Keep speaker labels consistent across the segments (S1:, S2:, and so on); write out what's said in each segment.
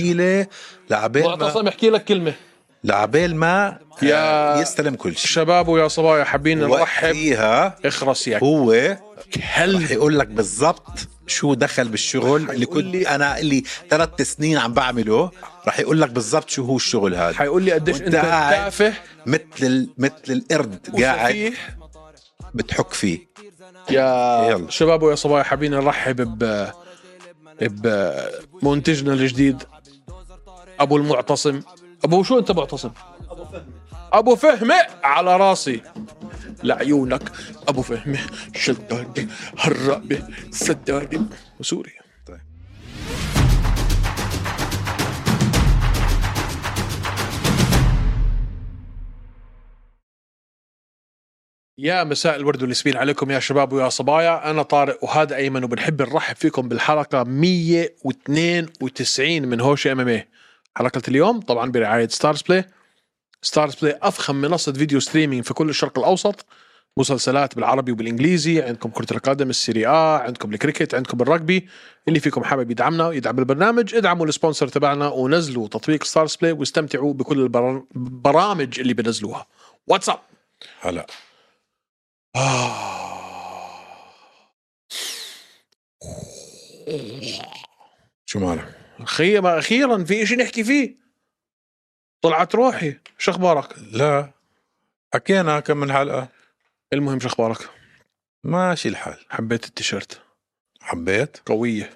S1: جيله لعبال ما
S2: معتصم يحكي لك كلمه
S1: لعبال ما
S2: يا
S1: آه، يستلم كل شيء
S2: شباب ويا صبايا حابين نرحب
S1: وقتيها
S2: اخرس يا
S1: هو
S2: كلب
S1: رح يقول لك بالضبط شو دخل بالشغل اللي كنت انا اللي ثلاث سنين عم بعمله رح يقول لك بالضبط شو هو الشغل هذا
S2: حيقول لي قديش
S1: وأنت
S2: انت
S1: قاعد
S2: تافه
S1: مثل ال- مثل القرد قاعد
S2: وسفيه.
S1: بتحك فيه
S2: يا
S1: يلا.
S2: شباب ويا صبايا حابين نرحب ب بمنتجنا الجديد ابو المعتصم ابو شو انت معتصم ابو فهمي على راسي لعيونك ابو فهمي شدادي هرابي سدادي وسوري
S1: طيب.
S2: يا مساء الورد والياسمين عليكم يا شباب ويا صبايا انا طارق وهذا ايمن وبنحب نرحب فيكم بالحلقه 192 من هوش ام ام حلقه اليوم طبعا برعايه ستارز بلاي ستارز بلاي افخم منصه فيديو ستريمينج في كل الشرق الاوسط مسلسلات بالعربي وبالانجليزي عندكم كره القدم السيريا عندكم الكريكت عندكم الرugby اللي فيكم حابب يدعمنا ويدعم البرنامج ادعموا السبونسر تبعنا ونزلوا تطبيق ستارز بلاي واستمتعوا بكل البر- البرامج اللي بنزلوها واتساب
S1: هلا
S2: آه.
S1: شو مالك؟
S2: أخي ما اخيرا في شيء نحكي فيه طلعت روحي شو اخبارك
S1: لا حكينا كم من حلقه
S2: المهم شو اخبارك
S1: ماشي الحال
S2: حبيت التيشيرت
S1: حبيت
S2: قويه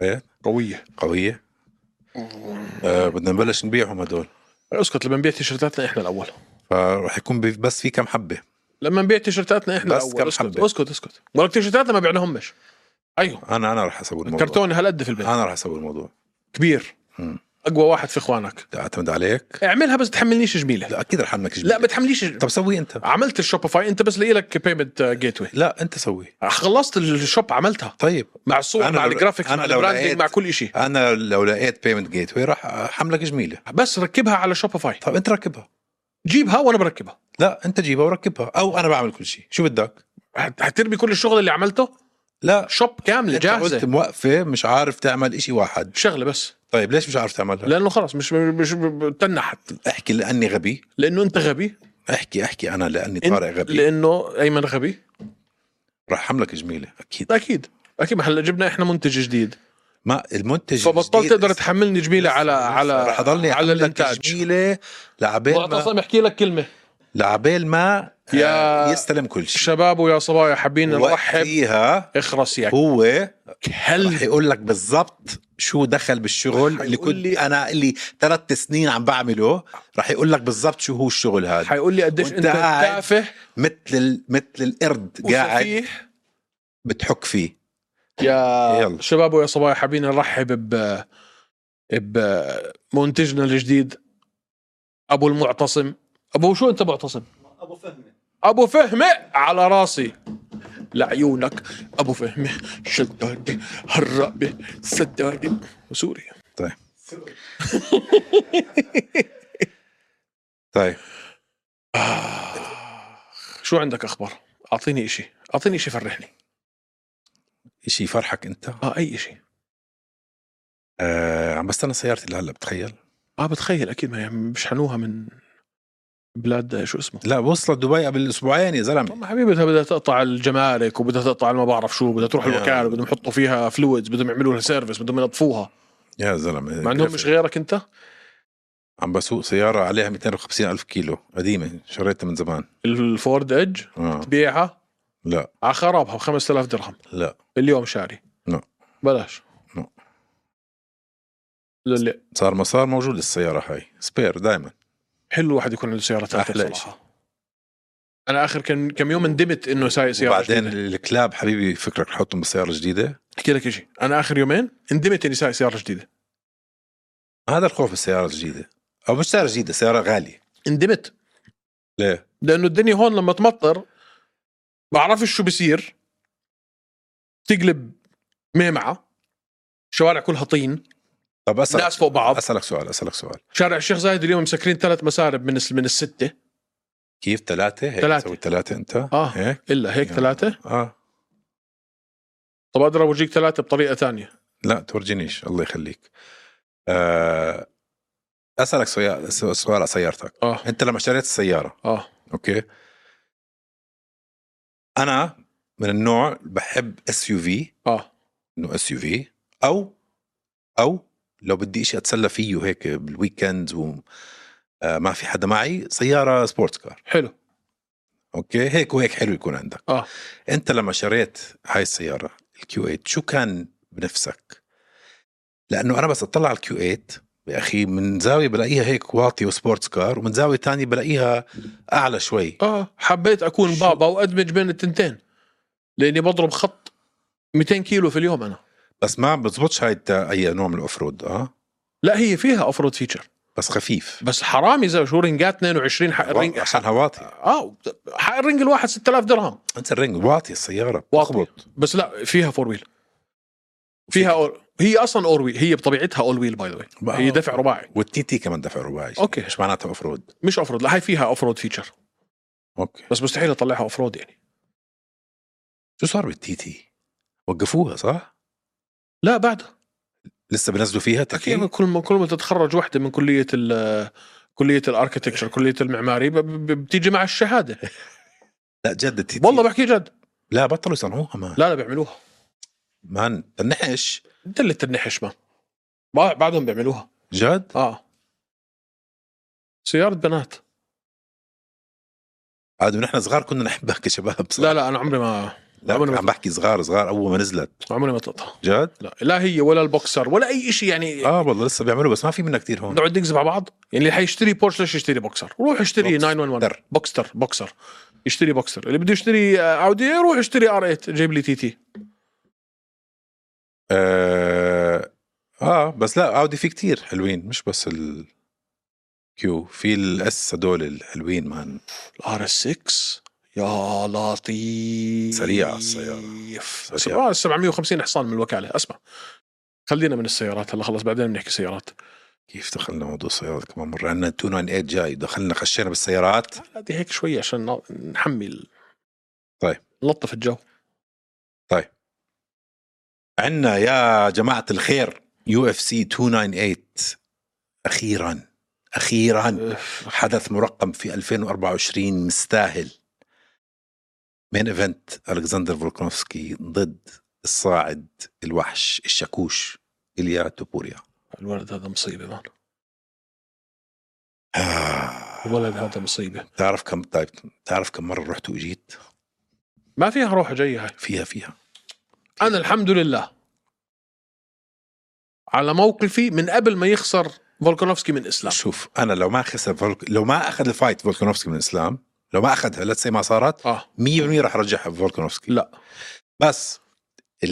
S1: حبيت
S2: قويه
S1: قويه آه بدنا نبلش نبيعهم هدول
S2: اسكت لما نبيع تيشيرتاتنا احنا الاول
S1: فرح يكون بي- بس في كم حبه
S2: لما نبيع تيشيرتاتنا احنا
S1: بس
S2: الاول
S1: كم
S2: اسكت
S1: حبة.
S2: اسكت اسكت ولك تيشيرتاتنا ما بعناهمش ايوه
S1: انا انا رح اسوي الموضوع
S2: كرتون هالقد في البيت
S1: انا رح اسوي الموضوع
S2: كبير
S1: مم.
S2: اقوى واحد في اخوانك
S1: اعتمد عليك
S2: اعملها بس تحملنيش جميله
S1: لا اكيد رح عملك
S2: لا ما تحمليش جميلة.
S1: طب سوي انت
S2: عملت الشوبيفاي انت بس لاقي لك بيمنت جيت واي
S1: لا انت سوي
S2: خلصت الشوب عملتها
S1: طيب
S2: مع الصور
S1: أنا
S2: مع
S1: لو-
S2: الجرافيكس
S1: أنا
S2: مع
S1: لو
S2: البراندنج
S1: لقيت-
S2: مع كل شيء
S1: انا لو لقيت بيمنت جيت واي راح احملك جميله
S2: بس ركبها على شوبيفاي
S1: طب انت ركبها
S2: جيبها وانا بركبها
S1: لا انت جيبها وركبها او انا بعمل كل شيء شو بدك
S2: هت- هترمي كل الشغل اللي عملته
S1: لا
S2: شوب كامله
S1: انت قلت
S2: جاهزه
S1: موقفه مش عارف تعمل إشي واحد
S2: شغله بس
S1: طيب ليش مش عارف تعملها لا.
S2: لانه خلاص مش مش مش- تنحت
S1: احكي لاني غبي
S2: لانه انت غبي
S1: احكي احكي انا لاني
S2: انت-
S1: طارق غبي
S2: لانه ايمن غبي
S1: راح احملك جميله اكيد
S2: اكيد اكيد ما هلا جبنا احنا منتج جديد
S1: ما المنتج
S2: فبطلت
S1: الجديد
S2: تقدر تحملني جميله
S1: لسه-
S2: على
S1: لسه
S2: على
S1: رح اضلني
S2: على
S1: أحملك
S2: الانتاج
S1: جميله لعبال ما
S2: معتصم يحكي لك كلمه
S1: لعبال ما
S2: يا-
S1: آه، يستلم كل شيء
S2: شباب ويا صبايا حابين نرحب
S1: وقتيها
S2: اخرس يا
S1: هو
S2: كلب
S1: رح يقول لك بالضبط شو دخل بالشغل اللي
S2: يقول
S1: كنت انا اللي ثلاث سنين عم بعمله رح يقول لك بالضبط شو هو الشغل هذا
S2: حيقول لي قديش
S1: وأنت
S2: انت
S1: قاعد
S2: تافه
S1: مثل ال- مثل القرد قاعد
S2: وسفيه
S1: بتحك فيه
S2: يا
S1: يلا.
S2: شباب ويا صبايا حابين نرحب ب بمنتجنا الجديد ابو المعتصم ابو شو انت معتصم ابو فهمي ابو فهمي على راسي لعيونك ابو فهمي شدادي هرابي سدادي وسوري
S1: طيب طيب
S2: آه. شو عندك اخبار اعطيني اشي اعطيني اشي فرحني
S1: شيء يفرحك انت
S2: اه اي اشي
S1: آه عم بستنى سيارتي لهلا بتخيل
S2: اه بتخيل اكيد ما يعني مش حنوها من بلاد شو اسمه
S1: لا وصلت دبي قبل اسبوعين يا زلمه
S2: طب حبيبتها بدها تقطع الجمارك وبدها تقطع ما بعرف شو بدها تروح
S1: يعني.
S2: الوكاله بدهم يحطوا فيها فلويدز بدهم يعملوا لها سيرفيس بدهم ينظفوها
S1: يا زلمه
S2: ما عندهم مش غيرك انت
S1: عم بسوق سياره عليها 250 الف كيلو قديمه شريتها من زمان
S2: الفورد ايدج
S1: آه.
S2: بيعها
S1: لا
S2: على خرابها ب 5000 درهم
S1: لا
S2: اليوم شاري
S1: لا.
S2: بلاش
S1: لا.
S2: لا لا
S1: صار مسار موجود السيارة هاي سبير دائما
S2: حلو الواحد يكون عنده سياره ثالثه
S1: أحلى
S2: بصراحه انا اخر كم كم يوم ندمت انه سايق سياره
S1: وبعدين
S2: جديدة.
S1: الكلاب حبيبي فكرك تحطهم بالسيارة الجديدة
S2: احكي لك شيء انا اخر يومين ندمت اني سايق سياره جديده
S1: هذا الخوف بالسيارة الجديدة أو مش سيارة جديدة سيارة غالية
S2: ندمت
S1: ليه؟
S2: لانه الدنيا هون لما تمطر بعرفش شو بصير تقلب ميمعة شوارع كلها طين
S1: طب أسألك
S2: ناس فوق بعض
S1: أسألك سؤال أسألك سؤال
S2: شارع الشيخ زايد اليوم مسكرين ثلاث مسارب من الس- من الستة
S1: كيف ثلاثة هيك
S2: ثلاثة.
S1: تسوي ثلاثة أنت
S2: آه.
S1: هيك
S2: الا
S1: إيه.
S2: هيك
S1: يا.
S2: ثلاثة
S1: آه
S2: طب اقدر اورجيك ثلاثة بطريقة ثانية
S1: لا تورجينيش الله يخليك آه، اسالك سؤال سؤال على سيارتك
S2: اه
S1: انت لما اشتريت السياره
S2: اه
S1: اوكي انا من النوع اللي بحب اس يو في
S2: اه
S1: انه اس يو في او او لو بدي شيء اتسلى فيه هيك بالويكند وما آه، في حدا معي سياره سبورت كار
S2: حلو
S1: اوكي هيك وهيك حلو يكون عندك
S2: آه.
S1: انت لما شريت هاي السياره الكيو 8 شو كان بنفسك لانه انا بس اطلع على الكيو 8 يا اخي من زاويه بلاقيها هيك واطي وسبورتس كار ومن زاويه تانية بلاقيها اعلى شوي
S2: اه حبيت اكون
S1: شو-
S2: بابا وادمج بين التنتين لاني بضرب خط 200 كيلو في اليوم انا
S1: بس ما بزبطش هاي الت- اي نوع من الافرود اه
S2: لا هي فيها اوف رود فيتشر
S1: بس خفيف
S2: بس حرام اذا شو رنجات 22 حق الرنج
S1: عشان واطي
S2: اه حق الرنج الواحد 6000 درهم
S1: انت الرنج واطي السياره
S2: واطي.
S1: بتخبط
S2: بس لا فيها فور ويل فيها أور... هي اصلا اور ويل هي بطبيعتها اول ويل باي ذا
S1: بقى-
S2: هي دفع رباعي
S1: والتي تي كمان دفع رباعي
S2: اوكي
S1: مش معناتها افرود
S2: مش اوف رود لا هي فيها اوف رود فيتشر
S1: اوكي
S2: بس مستحيل اطلعها اوف رود يعني
S1: شو صار بالتي تي وقفوها صح
S2: لا بعد
S1: لسه بنزلوا فيها تكي
S2: اكيد كل ما كل ما تتخرج وحده من كليه ال كليه الاركتكشر كليه المعماري ب- ب- بتيجي مع الشهاده
S1: لا جد التي تي
S2: والله بحكي جد
S1: لا بطلوا يصنعوها مان
S2: لا لا بيعملوها
S1: مان تنحش
S2: انت اللي تنحش ما بع- بعدهم بيعملوها
S1: جد
S2: اه سياره بنات
S1: عاد نحن صغار كنا نحبها كشباب صح
S2: لا لا انا عمري ما
S1: لا
S2: عمري ما-
S1: عم بحكي صغار صغار اول ما نزلت
S2: عمري ما طلعتها
S1: جد
S2: لا لا هي ولا البوكسر ولا اي شيء يعني
S1: اه والله لسه بيعملوا بس ما في منها كثير هون
S2: نقعد نكذب على بعض يعني اللي حيشتري بورش ليش يشتري بوكسر روح اشتري
S1: بوكسر.
S2: 911 بوكستر بوكسر يشتري بوكسر اللي بده يشتري آه، اودي روح اشتري ار 8 جيب لي تي تي
S1: آه, اه بس لا اودي في كتير حلوين مش بس ال كيو في الاس هدول الحلوين مان
S2: الار اس 6 يا لطيف
S1: سريعة السيارة. سريعة.
S2: سريعة 750 حصان من الوكالة اسمع خلينا من السيارات هلا خلص بعدين بنحكي سيارات
S1: كيف دخلنا موضوع السيارات كمان مره عندنا 298 جاي دخلنا خشينا بالسيارات
S2: هذه هيك شوي عشان ن- نحمي ال-
S1: طيب.
S2: نلطف الجو
S1: عندنا يا جماعه الخير يو اف سي 298 اخيرا اخيرا
S2: إيه،
S1: حدث مرقم في 2024 مستاهل مين ايفنت الكسندر فولكنوفسكي ضد الصاعد الوحش الشاكوش إليا توبوريا
S2: الولد هذا مصيبة مان
S1: آه.
S2: الولد هذا مصيبة
S1: تعرف كم طيب تعرف كم مره رحت واجيت
S2: ما فيها روح جاية هاي
S1: فيها فيها
S2: أنا الحمد لله على موقفي من قبل ما يخسر فولكانوفسكي من
S1: لا.
S2: إسلام
S1: شوف انا لو ما خسر فولك... لو ما اخذ الفايت فولكنوفسكي من الاسلام لو ما اخذها لا ما صارت 100%
S2: آه
S1: راح ارجعها فولكنوفسكي
S2: لا
S1: بس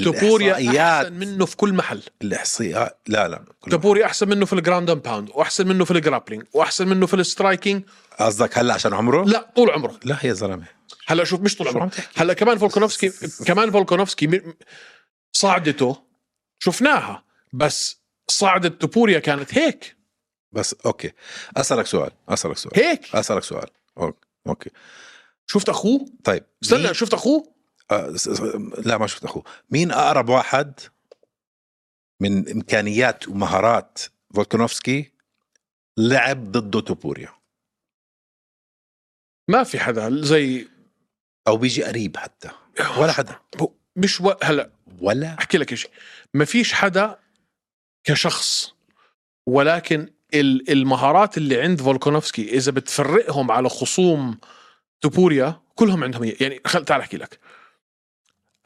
S2: توبوريا
S1: الاحصائيات
S2: أحسن منه في كل محل
S1: الاحصائيات لا لا كل-
S2: كابوري احسن منه في الجراوند اند باوند واحسن منه في الجرابلينج واحسن منه في السترايكينج
S1: قصدك هلا عشان عمره؟
S2: لا طول عمره
S1: لا يا زلمه
S2: هلا شوف مش طول
S1: شو
S2: عمره
S1: عم تحكي؟
S2: هلا كمان فولكانوفسكي كمان فولكانوفسكي م- صعدته شفناها بس صعدة توبوريا كانت هيك
S1: بس اوكي اسالك سؤال اسالك سؤال
S2: هيك
S1: اسالك سؤال اوكي اوكي
S2: شفت اخوه
S1: طيب
S2: استنى
S1: مين-
S2: شفت اخوه
S1: آه، س- س- لا ما شفت اخوه مين اقرب واحد من امكانيات ومهارات فولكنوفسكي لعب ضده توبوريا
S2: ما في حدا زي
S1: او بيجي قريب حتى ولا حدا
S2: هو مش و... هلا
S1: ولا
S2: احكي لك شيء ما فيش حدا كشخص ولكن ال- المهارات اللي عند فولكانوفسكي اذا بتفرقهم على خصوم توبوريا كلهم عندهم إياه. يعني خل تعال احكي لك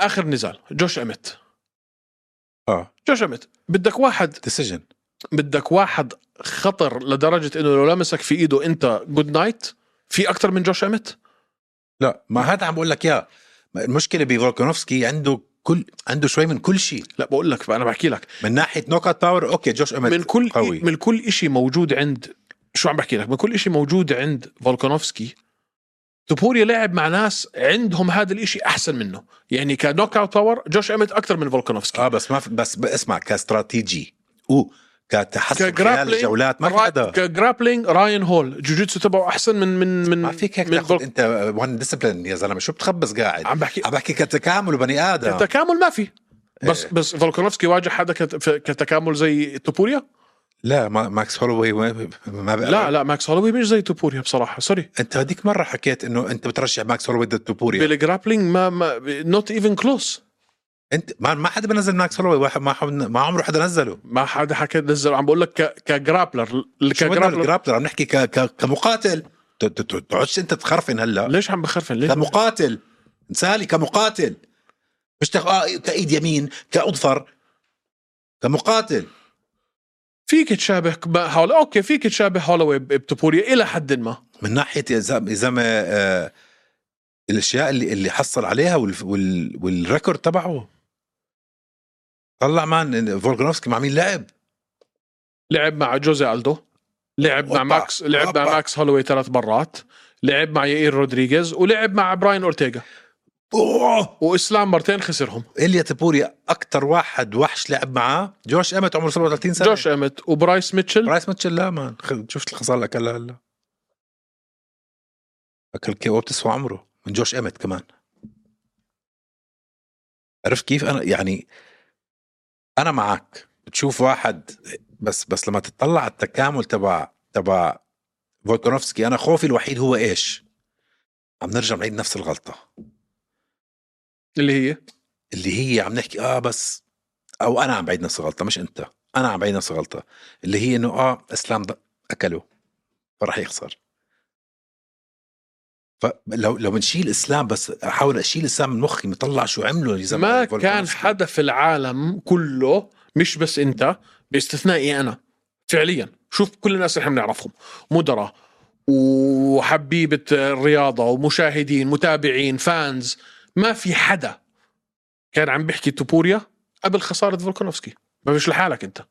S2: اخر نزال جوش امت
S1: اه
S2: جوش امت بدك واحد
S1: ديسيجن
S2: بدك واحد خطر لدرجه انه لو لمسك في ايده انت جود نايت في اكثر من جوش امت
S1: لا ما هذا عم بقول لك اياه المشكله بفولكنوفسكي عنده كل عنده شوي من كل شيء
S2: لا بقول لك انا بحكي لك
S1: من ناحيه نوكات باور اوكي جوش امت
S2: من كل
S1: قوي.
S2: من كل شيء موجود عند شو عم بحكي لك من كل شيء موجود عند فولكانوفسكي توبوريا لعب مع ناس عندهم هذا الإشي احسن منه يعني كنوك اوت باور جوش امت اكثر من فولكانوفسكي
S1: اه بس ما في بس ب- اسمع كاستراتيجي او كتحسن خلال
S2: كجرابلينج،
S1: الجولات ما في حدا
S2: كجرابلينج راين هول جوجيتسو تبعه احسن من من من
S1: ما فيك هيك
S2: من
S1: تاخذ
S2: فولك-
S1: انت وان ديسبلين يا زلمه شو بتخبص قاعد
S2: عم بحكي
S1: عم بحكي كتكامل وبني ادم
S2: التكامل ما في بس
S1: إيه.
S2: بس فولكانوفسكي واجه حدا كت- كتكامل زي توبوريا
S1: لا ما ماكس هولوي ما ما بقرب.
S2: لا لا ماكس هولوي مش زي توبوريا بصراحه سوري
S1: انت هذيك مره حكيت انه انت بترشح ماكس هولوي ضد توبوريا
S2: بالجرابلينج ما ما نوت ايفن كلوز
S1: انت ما, ما حدا بنزل ماكس هولوي واحد- ما حد- ما عمره حدا نزله
S2: ما حدا حكى نزل عم بقول لك ك- كجرابلر ال-
S1: شو بدنا
S2: كجرابلر
S1: بالجرابلر عم نحكي ك... ك... كمقاتل ت- ت- ت- تقعدش انت تخرفن هلا
S2: ليش عم بخرفن ليش
S1: كمقاتل انسالي كمقاتل مش تخ... آه كايد يمين كاظفر كمقاتل
S2: فيك تشابه ب- هول اوكي فيك تشابه هولوي ب- بتوبوريا الى حد ما
S1: من ناحيه يا زلمه يا زلمة، آه، الاشياء اللي اللي حصل عليها وال... وال... والريكورد تبعه طلع مان فولكنوفسكي مع مين لعب
S2: لعب مع جوزي الدو لعب مع
S1: أوبا.
S2: ماكس لعب مع
S1: أوبا.
S2: ماكس هولوي ثلاث مرات لعب مع يائير رودريغيز ولعب مع براين اورتيغا
S1: اوه
S2: واسلام مرتين خسرهم
S1: إليا تبوري اكثر واحد وحش لعب معاه جورج امت عمره 37 سنه
S2: جوش امت وبرايس ميتشل
S1: رايس ميتشل لا مان خ- شفت الخساره اللي اكلها هلا اكل كي او بتسوى عمره من جوش امت كمان عرفت كيف انا يعني انا معك بتشوف واحد بس بس لما تطلع على التكامل تبع تبع فولكنوفسكي انا خوفي الوحيد هو ايش؟ عم نرجع نعيد نفس الغلطه
S2: اللي هي
S1: اللي هي عم نحكي اه بس او انا عم بعيد نفس الغلطه مش انت انا عم بعيد نفس الغلطه اللي هي انه اه اسلام ض- اكله فراح يخسر فلو لو بنشيل اسلام بس احاول اشيل اسلام من مخي مطلع شو عمله يا زلمة
S2: ما كان
S1: فولكانوفسكي.
S2: حدا في العالم كله مش بس انت باستثنائي انا فعليا شوف كل الناس اللي احنا بنعرفهم مدراء وحبيبة الرياضة ومشاهدين متابعين فانز ما في حدا كان عم بيحكي توبوريا قبل خسارة فولكانوفسكي ما مش لحالك انت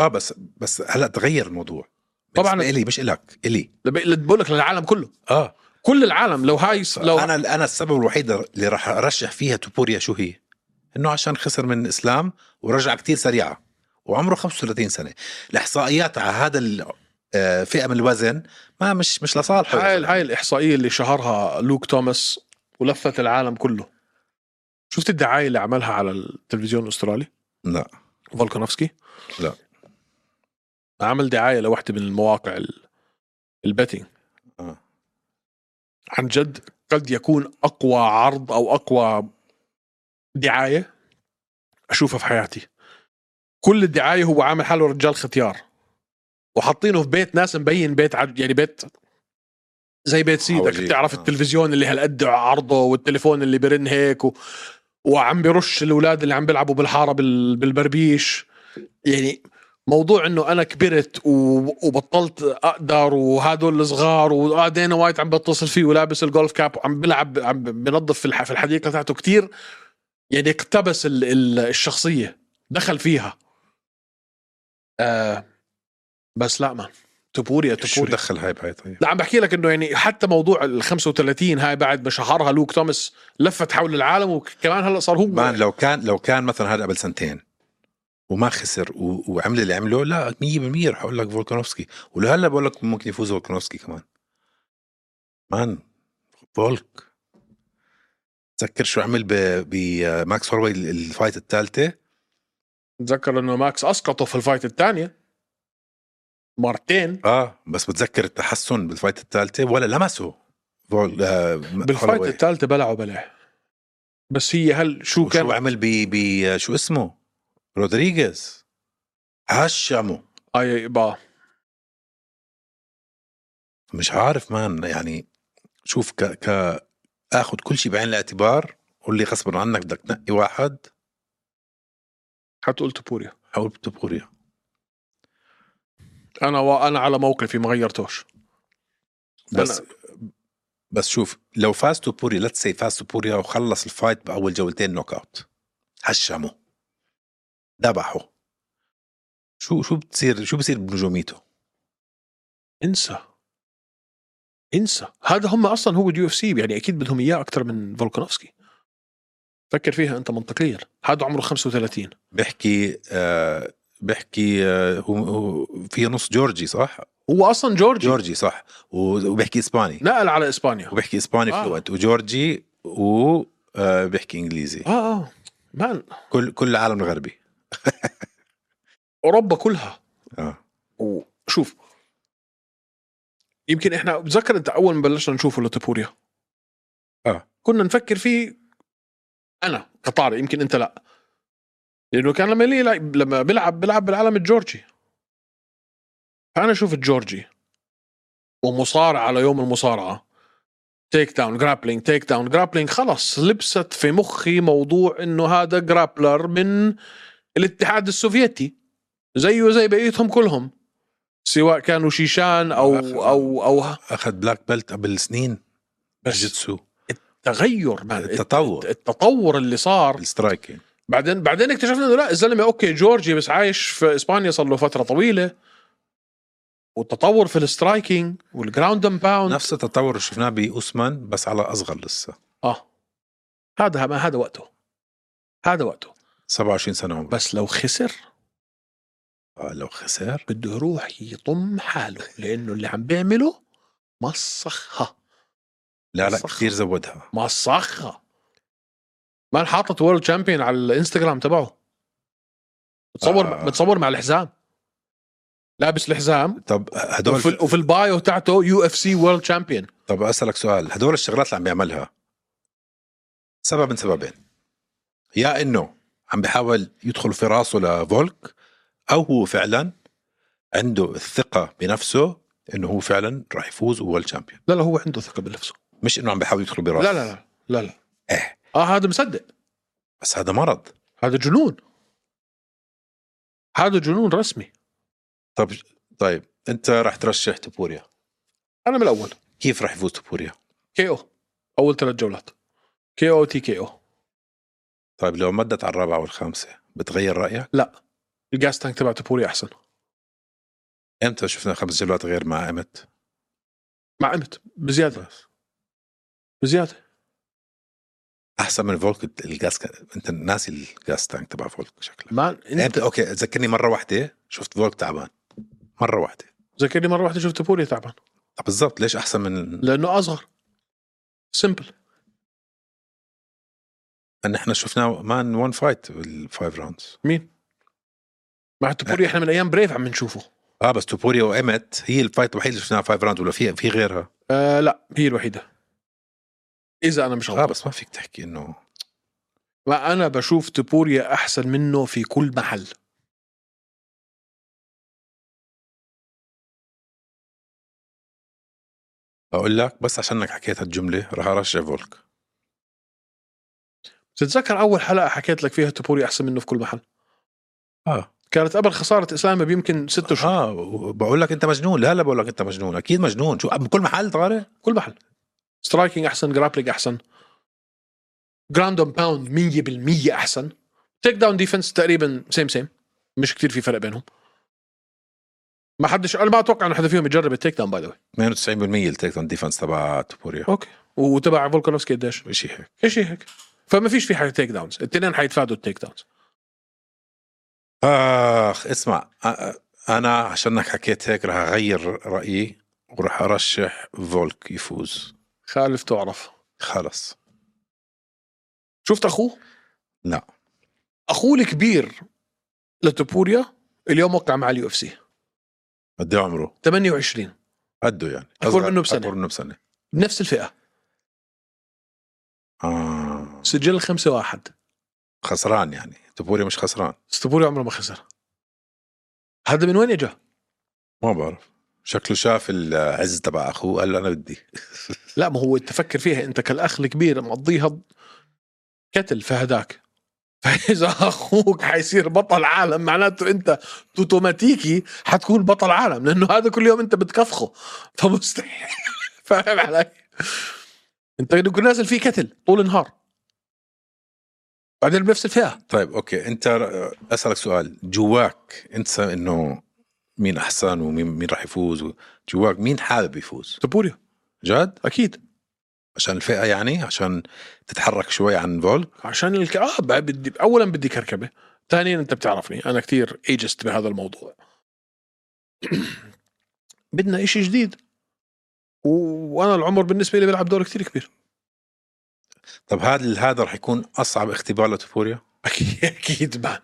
S1: اه بس بس هلا تغير الموضوع
S2: طبعاً.
S1: طبعا الي مش الك الي
S2: بقول لك للعالم كله
S1: اه
S2: كل العالم لو هاي لو
S1: لو انا انا السبب الوحيد اللي راح ارشح فيها توبوريا شو هي؟ انه عشان خسر من الاسلام ورجع كتير سريعه وعمره 35 سنه الاحصائيات على هذا ال- آه، فئه من الوزن ما مش مش لصالحه
S2: هاي هاي الاحصائيه اللي شهرها لوك توماس ولفت العالم كله شفت الدعايه اللي عملها على التلفزيون الاسترالي
S1: لا
S2: فولكانوفسكي
S1: لا.
S2: عمل دعايه لوحده من المواقع ال- البتنج
S1: آه.
S2: عن جد قد يكون اقوى عرض او اقوى دعايه اشوفها في حياتي كل الدعايه هو عامل حاله رجال ختيار وحاطينه في بيت ناس مبين بيت عد يعني بيت زي بيت سيدك
S1: حواليه.
S2: بتعرف
S1: آه.
S2: التلفزيون اللي هالقد عرضه والتليفون اللي برن هيك و... وعم برش الاولاد اللي عم بيلعبوا بالحاره بال... بالبربيش يعني موضوع انه انا كبرت و... وبطلت اقدر وهدول الصغار ودينا وايت عم بتصل فيه ولابس الجولف كاب وعم بلعب عم بنظف في الح... في الحديقه تاعته كتير يعني اقتبس ال... ال... الشخصيه دخل فيها آه بس لا ما تبوريا
S1: شو
S2: تبوريا
S1: دخل هاي بهاي طيب
S2: لا عم بحكي لك انه يعني حتى موضوع ال 35 هاي بعد ما شهرها لوك توماس لفت حول العالم وكمان هلا صار هو
S1: مان لو كان لو كان مثلا هذا قبل سنتين وما خسر و- وعمل اللي عمله لا 100% رح اقول لك فولكانوفسكي ولهلا بقول لك ممكن يفوز فولكانوفسكي كمان مان فولك تذكر شو عمل ب- بماكس هولوي ال- الفايت الثالثه
S2: بتذكر انه ماكس اسقطه في الفايت الثانيه مرتين
S1: اه بس بتذكر التحسن بالفايت الثالثه ولا لمسه فول آه
S2: بالفايت
S1: هولوي.
S2: الثالثه بلعوا بلع بس هي هل شو
S1: وشو
S2: كان
S1: عمل ب ب- شو اسمه رودريغيز هشمه
S2: اي آه، با
S1: مش عارف مان يعني شوف ك ك اخذ كل شيء بعين الاعتبار قول لي غصبا عنك بدك تنقي واحد
S2: حتقول تبوريا
S1: حاول بتبوريا
S2: انا وانا على موقفي ما غيرتوش
S1: بس بس شوف لو فاز توبوريا ليتس سي فاز توبوريا وخلص الفايت باول جولتين نوك اوت هشمه ذبحه شو شو بتصير شو بصير بنجوميته
S2: انسى انسى هذا هم اصلا هو اليو اف سي يعني اكيد بدهم اياه اكثر من فولكانوفسكي فكر فيها انت منطقيا هذا عمره 35
S1: بيحكي آه بيحكي آه هو, هو في نص جورجي صح
S2: هو اصلا جورجي
S1: جورجي صح و- وبيحكي اسباني
S2: نقل على اسبانيا
S1: وبيحكي اسباني
S2: آه.
S1: آه. فلوينت وجورجي آه، وبيحكي انجليزي
S2: اه اه مان
S1: كل كل العالم الغربي
S2: اوروبا كلها
S1: اه
S2: وشوف يمكن احنا بتذكر انت اول ما بلشنا نشوفه لتبوريا
S1: آه.
S2: كنا نفكر فيه انا كطارق يمكن انت لا لانه كان لما لي لما بلعب بلعب بالعالم الجورجي فانا اشوف الجورجي ومصارعه على يوم المصارعه تيك داون جرابلينج تيك داون جرابلينج خلص لبست في مخي موضوع انه هذا جرابلر من الاتحاد السوفيتي زيه زي بقيتهم كلهم سواء كانوا شيشان او او او
S1: اخذ بلاك بيلت قبل سنين
S2: بس
S1: جيتسو
S2: تغير مان
S1: التطور يعني.
S2: التطور اللي صار
S1: السترايكينج
S2: بعدين بعدين اكتشفنا انه لا الزلمه اوكي جورجي بس عايش في اسبانيا صار له فتره طويله والتطور في السترايكينج والجراوند اند باوند
S1: نفس التطور اللي شفناه باوسمان بس على اصغر لسه
S2: اه هذا ما هذا وقته هذا وقته
S1: 27 سنه عمره
S2: بس لو خسر
S1: آه لو خسر
S2: بده يروح يطم حاله لانه اللي عم بيعمله مسخها
S1: لا لا
S2: صح.
S1: كثير زودها
S2: مسخها مان حاطط وورلد تشامبيون على الانستغرام تبعه بتصور
S1: آه.
S2: آه. بتصور مع الحزام لابس الحزام
S1: طب آه، هدول
S2: وفي, وفي البايو تاعته يو اف سي وورلد تشامبيون
S1: طب اسالك سؤال هدول الشغلات اللي عم بيعملها سبب من سببين يا انه عم بيحاول يدخل في راسه لفولك او هو فعلا عنده الثقه بنفسه انه هو فعلا راح يفوز وهو الشامبيون
S2: لا لا هو عنده ثقه بنفسه
S1: مش انه عم بيحاول يدخل
S2: لا
S1: براسه
S2: لا لا لا لا
S1: إيه.
S2: اه هذا مصدق
S1: بس هذا مرض
S2: هذا جنون هذا جنون رسمي
S1: طب طيب انت راح ترشح تبوريا
S2: انا من الاول
S1: كيف راح يفوز تبوريا
S2: كي او اول ثلاث جولات كي او تي كي او
S1: طيب لو مدت على الرابعه والخامسه بتغير رايك
S2: الجاس تانك تبع تبوري احسن
S1: امتى شفنا خمس جولات غير مع امت
S2: مع امت بزياده بزياده
S1: احسن من فولك الجاس كان- انت ناسي الجاس تانك تبع فولك شكلك
S2: ما انت
S1: انت اوكي ذكرني مره واحده شفت فولك تعبان مره واحده
S2: ذكرني مره واحده شفت تبوري تعبان
S1: طب بالضبط ليش احسن من
S2: لانه اصغر سمبل
S1: ان احنا شفناه مان وان فايت بالفايف راوندز
S2: مع تبوري احنا من ايام بريف عم نشوفه
S1: اه بس توبوريا وامت هي الفايت الوحيده اللي شفناها فايف راوندز ولا في في غيرها
S2: آه لا هي الوحيده اذا انا مش غلطان
S1: اه بس ما فيك تحكي انه
S2: ما انا بشوف تبوريا احسن منه في كل محل
S1: اقول لك بس عشانك حكيت هالجمله راح ارشح فولك
S2: تتذكر اول حلقه حكيت لك فيها تبوريا احسن منه في كل محل
S1: اه
S2: كانت قبل خساره اسامه بيمكن ست اشهر
S1: اه بقول لك انت مجنون لا لا بقول لك انت مجنون اكيد مجنون شو بكل محل طارق
S2: كل محل سترايكينج احسن جرابلينج احسن جراوند اند باوند 100% احسن تيك داون ديفنس تقريبا سيم سيم مش كتير في فرق بينهم ما حدش انا ما اتوقع انه حدا فيهم يجرب التيك داون باي ذا
S1: 92% التيك داون ديفنس تبع توبوريا
S2: اوكي وتبع فولكانوفسكي قديش؟
S1: شيء هيك
S2: شيء هيك فما فيش في حاجه تيك داونز الاثنين حيتفادوا التيك داونز
S1: اخ اسمع أ- انا عشانك حكيت هيك رح اغير رايي وراح ارشح فولك يفوز
S2: خالف تعرف
S1: خلص
S2: شفت اخوه؟
S1: لا.
S2: اخوه الكبير لتوبوريا اليوم وقع مع اليو اف سي
S1: قد إيه عمره
S2: 28
S1: قده يعني
S2: أكبر
S1: أصغر-
S2: منه بسنة.
S1: اكبر منه بسنه
S2: بنفس الفئه
S1: آه.
S2: سجل 5 واحد
S1: خسران يعني تبوري مش خسران
S2: ستوبوري عمره ما خسر هذا من وين اجى؟
S1: ما بعرف شكله شاف العز تبع اخوه قال له انا بدي
S2: لا ما هو تفكر فيها انت كالاخ الكبير مقضيها كتل فهداك فاذا اخوك حيصير بطل عالم معناته انت اوتوماتيكي حتكون بطل عالم لانه هذا كل يوم انت بتكفخه فمستحيل فاهم علي؟ انت كنت نازل فيه كتل طول النهار بعدين بنفس الفئه
S1: طيب اوكي انت ر- اسالك سؤال جواك انت انه مين احسن ومين مين راح يفوز و- جواك مين حابب يفوز
S2: تبوريا
S1: جد
S2: اكيد
S1: عشان الفئه يعني عشان تتحرك شوي عن فولك
S2: عشان الك... اه بقى بدي اولا بدي كركبه ثانيا انت بتعرفني انا كتير ايجست بهذا الموضوع بدنا إشي جديد و... وانا العمر بالنسبه لي بيلعب دور كتير كبير
S1: طب هذا هذا رح يكون اصعب اختبار لتوبوريا
S2: اكيد اكيد ما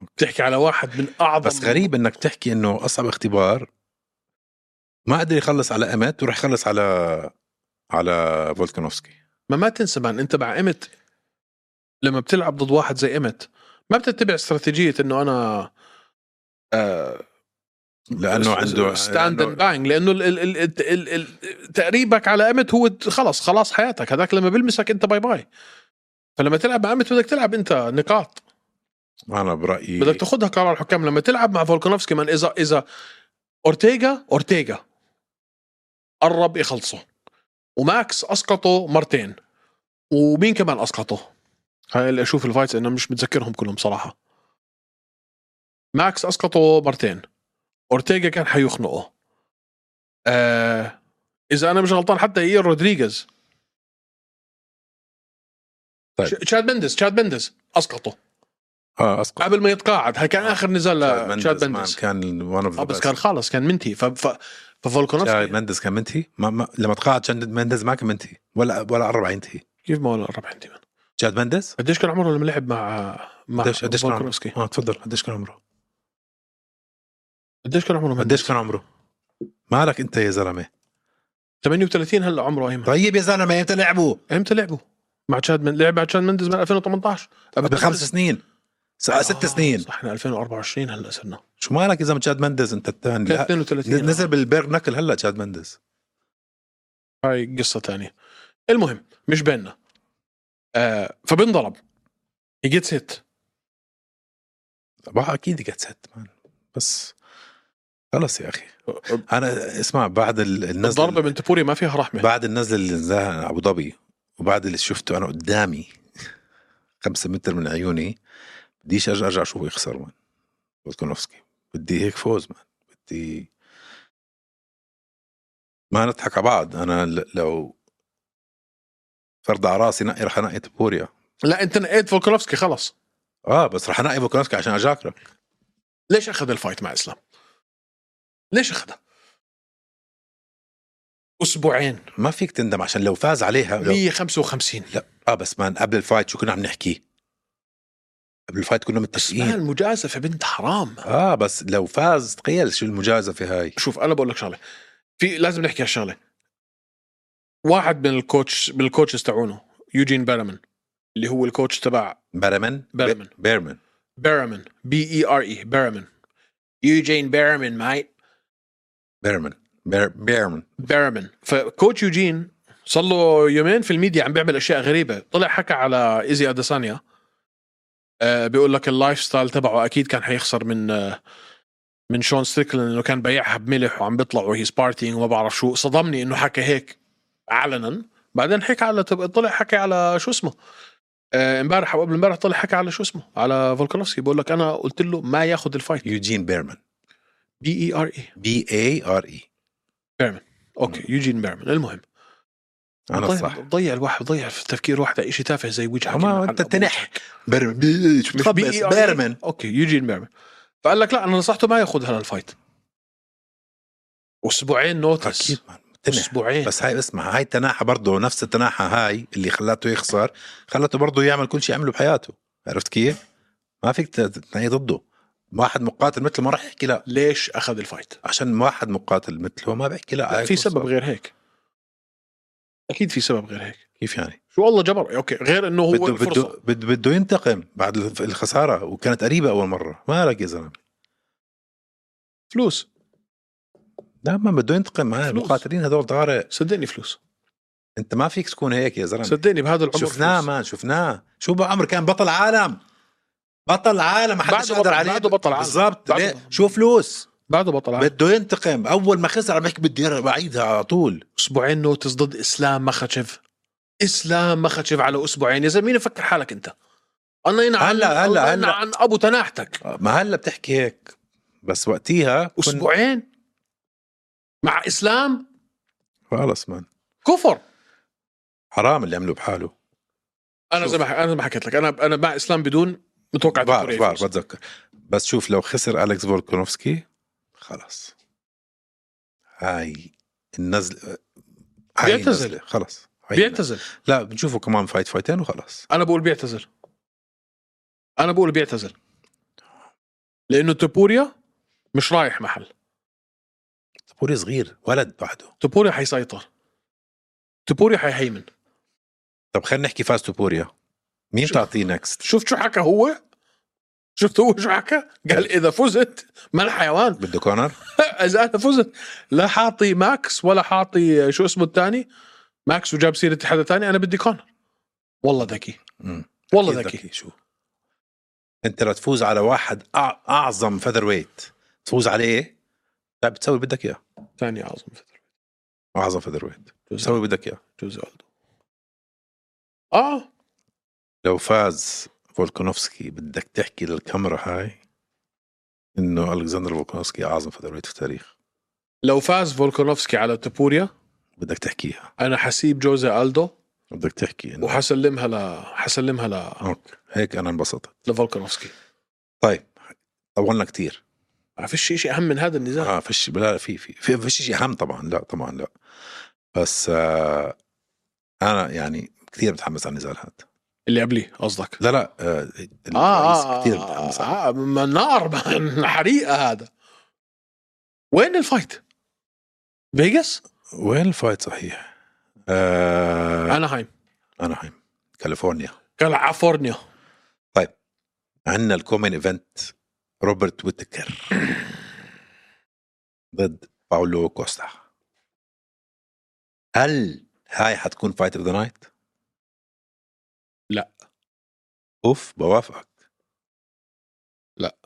S2: بتحكي على واحد من اعظم
S1: بس غريب انك تحكي انه اصعب اختبار ما قدر يخلص على امت وراح يخلص على على فولكانوفسكي
S2: ما ما تنسى مان انت مع ايمت لما بتلعب ضد واحد زي ايمت ما بتتبع استراتيجيه انه انا آه
S1: لانه عنده
S2: ستاند
S1: لأنه-
S2: اند بانج لانه ال ال ال ال ال ال تقريبك على امت هو ت- خلص خلاص حياتك هذاك لما بلمسك انت باي باي فلما تلعب مع امت بدك تلعب انت نقاط
S1: انا برايي
S2: بدك تاخذها قرار الحكام لما تلعب مع فولكانوفسكي من اذا اذا اورتيغا اورتيغا قرب يخلصه وماكس اسقطه مرتين ومين كمان اسقطه؟ هاي اللي اشوف الفايتس انا مش متذكرهم كلهم صراحه ماكس اسقطه مرتين اورتيغا كان حيخنقه آه اذا انا مش غلطان حتى اير رودريغيز
S1: طيب.
S2: ش- تشاد بندس تشاد بندس اسقطه
S1: اه اسقط
S2: قبل ما يتقاعد هاي كان
S1: آه.
S2: اخر نزال لتشاد
S1: مان
S2: بندس
S1: كان ون اوف
S2: اه بس كان خالص كان منتهي ف... ف...
S1: تشاد
S2: ففولكانوفسكي
S1: مندز كان منتهي ما ما لما تقاعد تشاد مندز ما كان منتهي ولا ولا قرب ينتهي
S2: كيف ما ولا قرب عندي من.
S1: تشاد مندز
S2: قديش كان عمره لما لعب مع مع
S1: قديش قديش كان عمره؟
S2: فولكانوفسكي
S1: اه تفضل قديش كان عمره؟
S2: قديش كان عمره قديش
S1: قديش كان عمره؟ مالك انت يا زلمه؟
S2: 38 هلا عمره ايمن
S1: طيب يا زلمه امتى لعبوا؟
S2: امتى لعبوا مع تشاد من لعب مع تشاد مندز من 2018 قبل
S1: قبل خمس سنين س- آه، ست سنين
S2: آه، صح احنا 2024 هلا صرنا
S1: شو مالك اذا تشاد مندز انت الثاني
S2: كان
S1: لا
S2: 32
S1: نزل بالبير نكل هلا تشاد مندز
S2: هاي قصة تانية المهم مش بيننا آه فبنضرب هي جيتس هيت
S1: طبعا اكيد قد ست مان بس خلص يا اخي انا اسمع بعد ال- النزله
S2: الضربة من تبوري ما فيها رحمة
S1: بعد النزله اللي نزلها ابو ظبي وبعد اللي شفته انا قدامي خمسة متر من عيوني بديش ارجع ارجع اشوفه يخسر مان فولكانوفسكي بدي هيك فوز مان بدي ما نضحك على بعض انا ل- لو فرض على راسي نقي رح انقي تبوريا
S2: لا انت نقيت فولكانوفسكي خلص
S1: اه بس رح انقي فولكانوفسكي عشان اجاكرك
S2: ليش اخذ الفايت مع اسلام؟ ليش اخذها؟ اسبوعين
S1: ما فيك تندم عشان لو فاز عليها لو
S2: 155
S1: اه بس مان قبل الفايت شو كنا عم نحكي؟ قبل الفايت كنا
S2: ما
S1: متفقين
S2: المجازفه بنت حرام
S1: اه بس لو فاز تخيل شو المجازفه هاي
S2: شوف انا بقول لك شغله في لازم نحكي هالشغله واحد من الكوتش من الكوتشز تاعونه يوجين بيرمان اللي هو الكوتش تبع
S1: بيرمان
S2: بيرمان.
S1: بيرمان
S2: بيرمان بي اي ار اي بيرمان E، يوجين بيرمان مايت
S1: بيرمان بير- بيرمان
S2: بيرمان فكوتش يوجين صار له يومين في الميديا عم بيعمل اشياء غريبه طلع حكى على ايزي اديسانيا آه بيقول لك اللايف ستايل تبعه اكيد كان حيخسر من آه من شون ستريكلين انه كان بيعها بملح وعم بيطلع وهي سبارتينج وما بعرف شو صدمني انه حكى هيك علنا بعدين حكى على تب- طلع حكى على شو اسمه آه، امبارح او قبل امبارح طلع حكى على شو اسمه على فولكانوفسكي بقول لك انا قلت له ما ياخذ الفايت
S1: يوجين بيرمان
S2: بي اي ار اي
S1: بي اي ار اي
S2: اوكي يوجين بيرمان المهم
S1: انا
S2: ضيع-
S1: صح
S2: ضيع الواحد ضيع في التفكير واحد على شيء تافه زي وجهك
S1: ما
S2: على
S1: انت
S2: أبوك.
S1: تنح بيرمان بي- شو
S2: مش
S1: بتخبص؟
S2: بي إي آر إي.
S1: بيرمان
S2: اوكي يوجين بيرمان فقال لك لا انا نصحته ما ياخذ هلا الفايت اسبوعين
S1: اكيد
S2: نوتس
S1: مان تنح
S2: اسبوعين بس
S1: بس هاي اسمع هاي التناحة برضه نفس التناحة هاي اللي خلاته يخسر خلته برضه يعمل كل شيء عمله بحياته عرفت كيف؟ ما فيك ت- تتنقي ضده واحد مقاتل مثله ما راح يحكي لا
S2: ليش اخذ الفايت؟
S1: عشان واحد مقاتل مثله ما بحكي لا هاي
S2: في
S1: فرصة.
S2: سبب غير هيك اكيد في سبب غير هيك
S1: كيف يعني؟
S2: شو والله جبر اوكي غير انه هو
S1: بده
S2: فرصه
S1: بده بده بده ينتقم بعد الف- الخسارة وكانت قريبة أول مرة مالك يا زلمة
S2: فلوس
S1: لا ما بده ينتقم هاي
S2: فلوس.
S1: المقاتلين هدول طارق
S2: صدقني فلوس
S1: أنت ما فيك تكون هيك يا زلمة
S2: صدقني بهذا العمر
S1: شفناه
S2: فلوس.
S1: مان شفناه شو بعمر كان بطل عالم بطل عالم ما حدش
S2: بعده
S1: قدر
S2: بطل-
S1: عليه
S2: بعده بطل عالم.
S1: بالضبط
S2: بعده
S1: ليه؟
S2: بطل.
S1: شو فلوس
S2: بعده بطل عالم.
S1: بده ينتقم اول ما خسر عم يحكي بدي ير- اعيدها على طول
S2: اسبوعين نوتس ضد اسلام مخاتشف اسلام مخاتشف على اسبوعين يا زلمه مين فكر حالك انت انا عن
S1: هلا- هلا-
S2: الله ينعى
S1: هلا.
S2: عن ابو تناحتك
S1: ما هلا بتحكي هيك بس وقتيها كن-
S2: اسبوعين مع اسلام
S1: خلص مان
S2: كفر
S1: حرام اللي عمله بحاله
S2: انا
S1: شوف.
S2: زي ما ح- انا زي ما حكيت لك انا انا مع اسلام بدون متوقع
S1: بعرف
S2: دكتور
S1: بعرف
S2: يفوز.
S1: بتذكر بس شوف لو خسر الكس فولكانوفسكي خلص هاي النزل هاي
S2: بيعتزل.
S1: النزلة، خلص هاي
S2: بيعتزل
S1: النزلة. لا بنشوفه كمان فايت فايتين وخلص
S2: انا بقول بيعتزل انا بقول بيعتزل لانه توبوريا مش رايح محل
S1: طبوري صغير ولد بعده
S2: توبوريا حيسيطر توبوريا حيهيمن
S1: طب خلينا نحكي فاز توبوريا مين
S2: شوف.
S1: تعطيه نكست
S2: شفت شو حكى هو شفت هو شو حكى قال اذا فزت ما الحيوان
S1: بده كونر
S2: اذا انا فزت لا حاطي ماكس ولا حاطي شو اسمه الثاني ماكس وجاب سيره حدا ثاني انا بدي كونر والله ذكي
S1: مم.
S2: والله
S1: أكيد
S2: ذكي
S1: شو انت لو تفوز على واحد أع- اعظم فذر ويت تفوز عليه لا بتسوي اللي بدك اياه
S2: ثاني اعظم فتره
S1: اعظم فذر ويت
S2: جوز
S1: بتسوي اللي بدك اياه
S2: جوز أولدو. اه
S1: لو فاز فولكونوفسكي بدك تحكي للكاميرا هاي انه الكسندر فولكونوفسكي اعظم فذر ويت في التاريخ
S2: لو فاز فولكانوفسكي على توبوريا
S1: بدك تحكيها
S2: انا حسيب جوزي الدو
S1: بدك تحكي انه
S2: وحسلمها ل حسلمها ل
S1: أوكي. هيك انا انبسطت
S2: لفولكانوفسكي
S1: طيب طولنا كتير
S2: ما فيش شيء اهم من هذا النزال
S1: اه فيش لا لا، في في في فيش شيء اهم طبعا لا طبعا لا بس آه انا يعني كثير متحمس على النزال هذا
S2: اللي قبليه قصدك
S1: لا لا آه الرئيس
S2: اه
S1: كثير متحمس عليه.
S2: آه، ما نار ما- حريقه هذا وين الفايت؟ فيجاس؟
S1: وين الفايت صحيح؟ آه
S2: اناهايم
S1: اناهايم كاليفورنيا
S2: كاليفورنيا
S1: عندنا الكومين ايفنت روبرت ويتكر ضد باولو كوستا هل هاي حتكون فايت اوف ذا نايت؟
S2: لا.
S1: اوف بوافقك
S2: لا.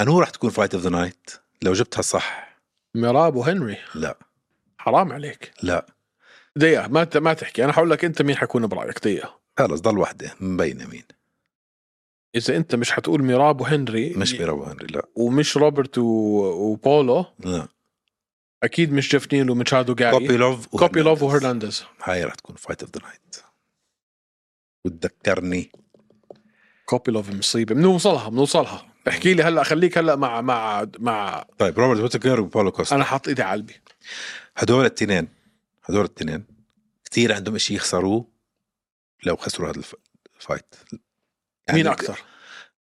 S1: انو رح تكون فايت اوف ذا نايت لو جبتها صح
S2: ميراب وهنري
S1: لا
S2: حرام عليك
S1: لا
S2: دقيقه ما ت- ما تحكي انا حقول لك انت مين حيكون برايك دقيقه
S1: خلص ضل وحده مبينه مين
S2: اذا انت مش حتقول ميراب وهنري
S1: مش بيرو هنري لا
S2: ومش روبرت و... وبولو
S1: لا
S2: اكيد مش جيف نيل وميتشادو جاي
S1: كوبيلوف
S2: كوبي لوف
S1: وهرنانديز.
S2: وهرنانديز
S1: هاي رح تكون فايت اوف ذا نايت وتذكرني
S2: كوبي لوف مصيبه بنوصلها بنوصلها احكي لي هلا خليك هلا مع مع مع
S1: طيب روبرت ويتكر وبولو كوستا
S2: انا حاط ايدي على قلبي
S1: هدول التنين هدول التنين كثير عندهم اشي يخسروه لو خسروا هذا الف- الفايت
S2: مين اكثر؟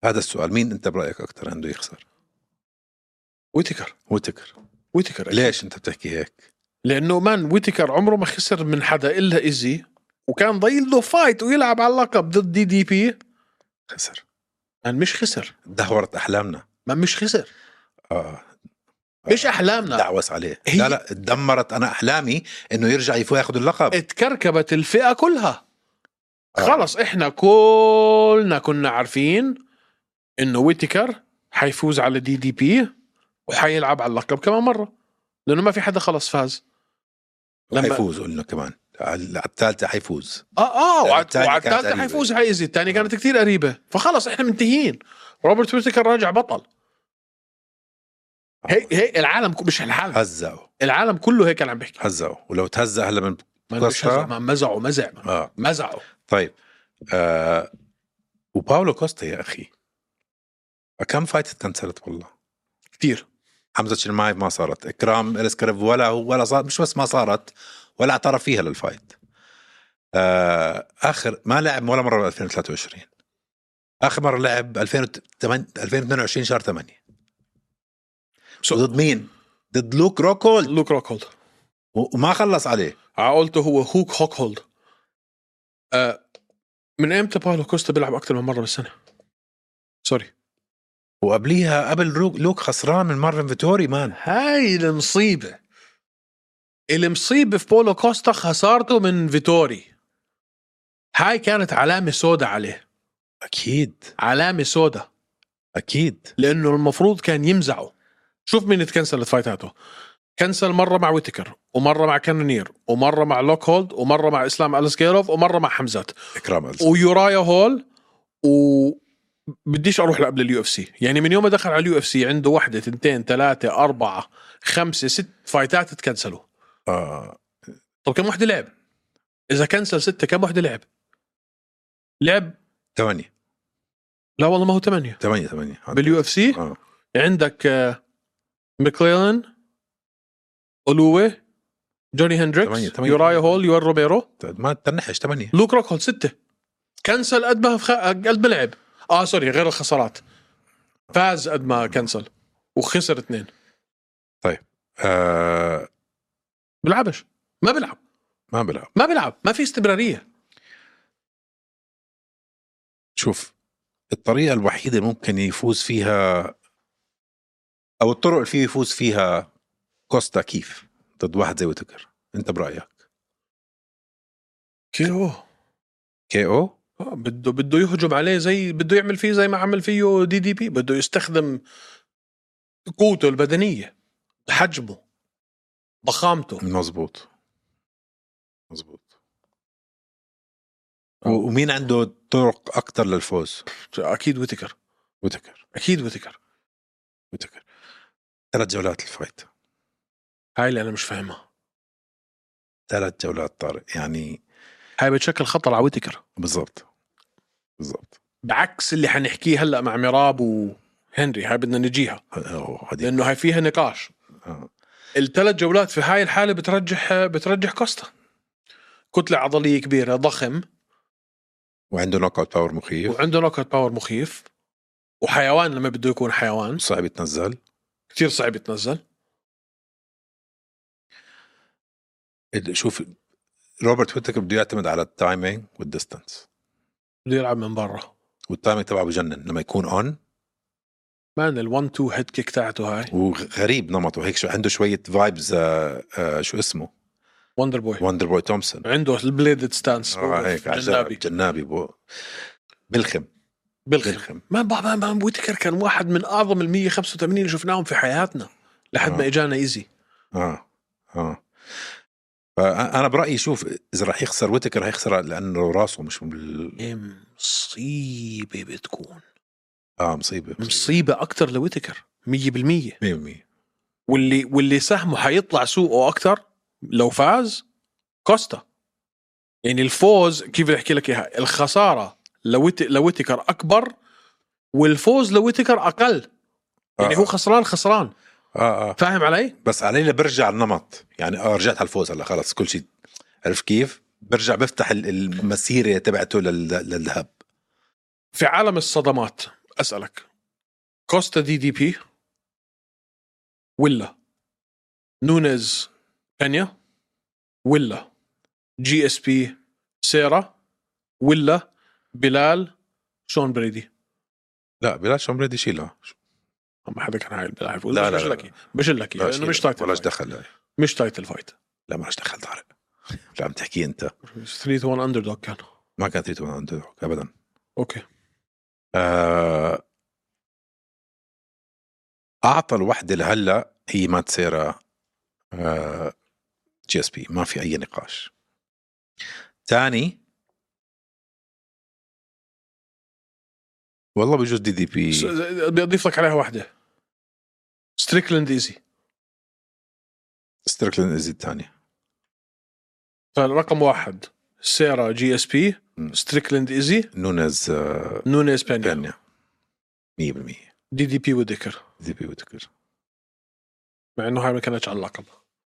S1: هذا السؤال مين انت برايك اكثر عنده يخسر
S2: ويتكر
S1: ويتكر
S2: ويتكر
S1: ليش انت بتحكي هيك
S2: لانه مان ويتكر عمره ما خسر من حدا الا ايزي وكان ضايل له فايت ويلعب على اللقب ضد دي دي بي
S1: خسر
S2: مان مش خسر
S1: دهورت احلامنا
S2: مان مش خسر
S1: اه
S2: مش احلامنا
S1: دعوس عليه
S2: هي-
S1: لا لا دمرت انا احلامي انه يرجع يفوز ياخذ
S2: إيه،
S1: اللقب
S2: اتكركبت الفئه كلها
S1: آه.
S2: خلص احنا كلنا كنا عارفين انه ويتكر حيفوز على دي دي بي وحيلعب على اللقب كمان مره لانه ما في حدا خلص فاز لما-
S1: حيفوز قلنا كمان على على الثالثه حيفوز
S2: اه اه
S1: لأن
S2: وعلى
S1: التانية
S2: وعلى
S1: كانت
S2: الثالثه
S1: قريبة. آه.
S2: حيفوز هاي ايزي الثانيه كانت كثير قريبه فخلص احنا منتهيين روبرت ويتكر راجع بطل
S1: آه.
S2: هي هي العالم ك- مش العالم
S1: هزقوا
S2: العالم كله هيك انا عم بحكي
S1: هزقوا ولو تهزق هلا من
S2: ما أنا مش
S1: كوستا.
S2: هزع- ما مزعوا مزع
S1: اه
S2: مزعوا
S1: طيب آه وباولو كوستا يا اخي كم فايت اتكنسلت والله
S2: كثير
S1: حمزه شلمايف ما صارت اكرام الاسكريف ولا هو ولا صار مش بس ما صارت ولا اعترف فيها للفايت آه اخر ما لعب ولا مره بال 2023 اخر مره لعب 2008 2022 شهر 8
S2: سو-
S1: ضد مين؟ ضد لوك روكولد
S2: لوك روكهولد
S1: و- وما خلص عليه
S2: عقلته آه، هو هوك هوكهولد آه من امتى باولو كوستا بيلعب اكثر من مره بالسنه؟ سوري
S1: وقبليها قبل رو- لوك خسران من مارفن فيتوري مان
S2: هاي المصيبه المصيبه في بولو كوستا خسارته من فيتوري هاي كانت علامه سوداء عليه
S1: اكيد
S2: علامه سوداء
S1: اكيد
S2: لانه المفروض كان يمزعه شوف مين تكنسلت فايتاته كنسل مره مع ويتكر ومره مع كانونير ومره مع لوك هولد ومره مع اسلام الاسكيروف ومره مع حمزات
S1: اكرام ألس-
S2: ويورايا هول و بديش اروح لقبل اليو اف سي يعني من يوم ما دخل على اليو اف سي عنده واحدة تنتين ثلاثة أربعة خمسة ست فايتات تكنسلوا
S1: آه
S2: طب كم وحدة لعب إذا كنسل ستة كم وحدة لعب لعب
S1: 8
S2: لا والله ما هو ثمانية
S1: 8 8
S2: باليو اف سي
S1: اه
S2: عندك آه، ميكليلن اولوي جوني
S1: تمانية-
S2: هندريكس
S1: تمانية.
S2: يورايا هول يوان روبيرو
S1: ما تنحش 8
S2: لوك روكهولد ستة كنسل قد ما في خ- قد ما لعب اه سوري غير آه، الخسارات فاز قد ما كنسل وخسر اثنين
S1: آه
S2: بيلعبش ما بيلعب
S1: ما بلعب
S2: ما بيلعب ما في استمراريه
S1: شوف الطريقه الوحيده اللي ممكن يفوز فيها او الطرق اللي فيه يفوز فيها كوستا كيف ضد واحد زي ويتكر انت برايك
S2: كي اوه
S1: كي او
S2: آه، بده بده يهجم عليه زي بده يعمل فيه زي ما عمل فيه دي دي بي بده يستخدم قوته البدنيه حجمه ضخامته
S1: مزبوط مزبوط و- ومين عنده طرق اكثر للفوز
S2: اكيد ويتكر
S1: ويتكر
S2: اكيد ويتكر
S1: ويتكر ثلاث جولات الفايت
S2: هاي اللي انا مش فاهمها
S1: ثلاث جولات طارق يعني
S2: هاي بتشكل خطر على ويتكر
S1: بالضبط بالضبط
S2: بعكس اللي حنحكيه هلا مع ميراب وهنري هاي بدنا نجيها
S1: أوه، هدي-
S2: لانه هاي فيها نقاش
S1: آه.
S2: الثلاث جولات في هاي الحاله بترجح بترجح كوستا كتله عضليه كبيره ضخم
S1: وعنده نوك اوت باور مخيف
S2: وعنده نوك أوت باور مخيف وحيوان لما بده يكون حيوان
S1: صعب يتنزل
S2: كثير صعب يتنزل
S1: ال- شوف روبرت ويتكر بده يعتمد على التايمينج والديستنس
S2: بده يلعب من برا
S1: والتايمينج تبعه بجنن لما يكون اون
S2: مان ال1 2 هيد كيك تاعته هاي
S1: وغريب نمطه هيك شو عنده شويه فايبز آه، شو اسمه
S2: وندر بوي
S1: وندر بوي تومسون
S2: عنده البليدد ستانس
S1: اه هيك جنابي
S2: جنابي
S1: جنابي بو بلخم
S2: بالخير
S1: بلخم
S2: ما بابا ما ويتكر كان واحد من اعظم ال 185 اللي شفناهم في حياتنا لحد ما
S1: آه.
S2: اجانا ايزي
S1: اه اه فانا برايي شوف اذا راح يخسر ويتكر هيخسر لانه راسه مش بال...
S2: مصيبه بتكون
S1: اه مصيبه
S2: مصيبه اكثر لويتكر 100%
S1: 100%
S2: واللي واللي سهمه حيطلع سوقه اكثر لو فاز كوستا يعني الفوز كيف بدي احكي لك اياها الخساره لويت لويتكر اكبر والفوز لويتكر اقل يعني
S1: آه.
S2: هو خسران خسران
S1: اه اه
S2: فاهم علي؟
S1: بس علي اللي برجع النمط يعني اه رجعت على الفوز هلا خلص كل شيء عرفت كيف؟ برجع بفتح ال- المسيره تبعته لل- للذهب
S2: في عالم الصدمات اسالك كوستا دي دي بي ولا نونيز كانيا ولا جي اس بي سيرا ولا بلال شون بريدي
S1: لا بلا شو بريدي شيلها
S2: ما حدا كان عايل بالعرف
S1: لا، لا،
S2: لا لا مش
S1: لا.
S2: لكي مش لكي
S1: لا شيلها.
S2: لانه يعني مش تايتل
S1: ولاش
S2: فايت
S1: دخل
S2: مش تايتل فايت
S1: لا مالش دخل طارق شو عم تحكي انت
S2: 3 1 اندر دوغ كان
S1: ما كان 3 ابدا
S2: اوكي
S1: آه، اعطى الوحده لهلا هي مات سيرا آه، جي اس بي ما في اي نقاش ثاني والله بجوز دي دي بي
S2: س- بدي اضيف لك عليها واحده ستريكلاند ايزي
S1: ستريكلين ازي الثاني
S2: فرقم واحد سيرا جي اس بي
S1: مم.
S2: ستريكلاند ايزي
S1: نونز
S2: نونيز بانيا
S1: بانيا 100%
S2: دي دي بي وديكر
S1: دي بي وتكر
S2: مع انه هاي ما كانتش على اللقب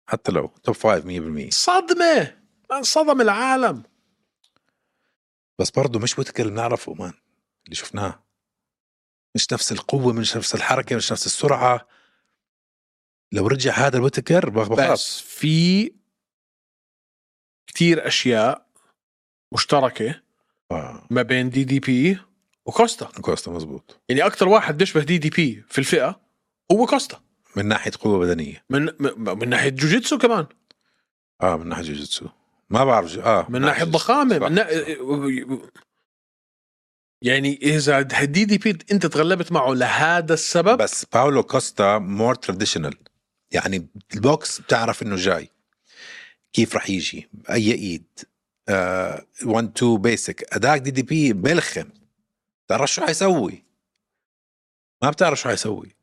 S1: حتى لو توب 5 100%
S2: صدمه انصدم العالم
S1: بس برضه مش وتكر اللي بنعرفه مان اللي شفناه مش نفس القوه مش نفس الحركه مش نفس السرعه لو رجع هذا الوتكر بخ- خلاص
S2: بس في كتير اشياء مشتركه
S1: اه
S2: ما بين دي دي بي وكوستا
S1: كوستا مزبوط
S2: يعني اكثر واحد بيشبه دي دي بي في الفئه هو كوستا
S1: من ناحيه قوه بدنيه
S2: من م- من ناحيه جوجيتسو كمان
S1: اه من ناحيه جوجيتسو ما بعرف جو... اه
S2: من ناحيه
S1: جوجيتسو.
S2: ضخامه
S1: صح،
S2: من نا...
S1: صح.
S2: يعني اذا دي دي بي انت تغلبت معه لهذا السبب
S1: بس باولو كوستا مور تراديشنال يعني البوكس بتعرف انه جاي كيف رح يجي آه، باي ايد 1 2 بيسك اداك دي دي بي بلخم بتعرف شو حيسوي ما بتعرف شو حيسوي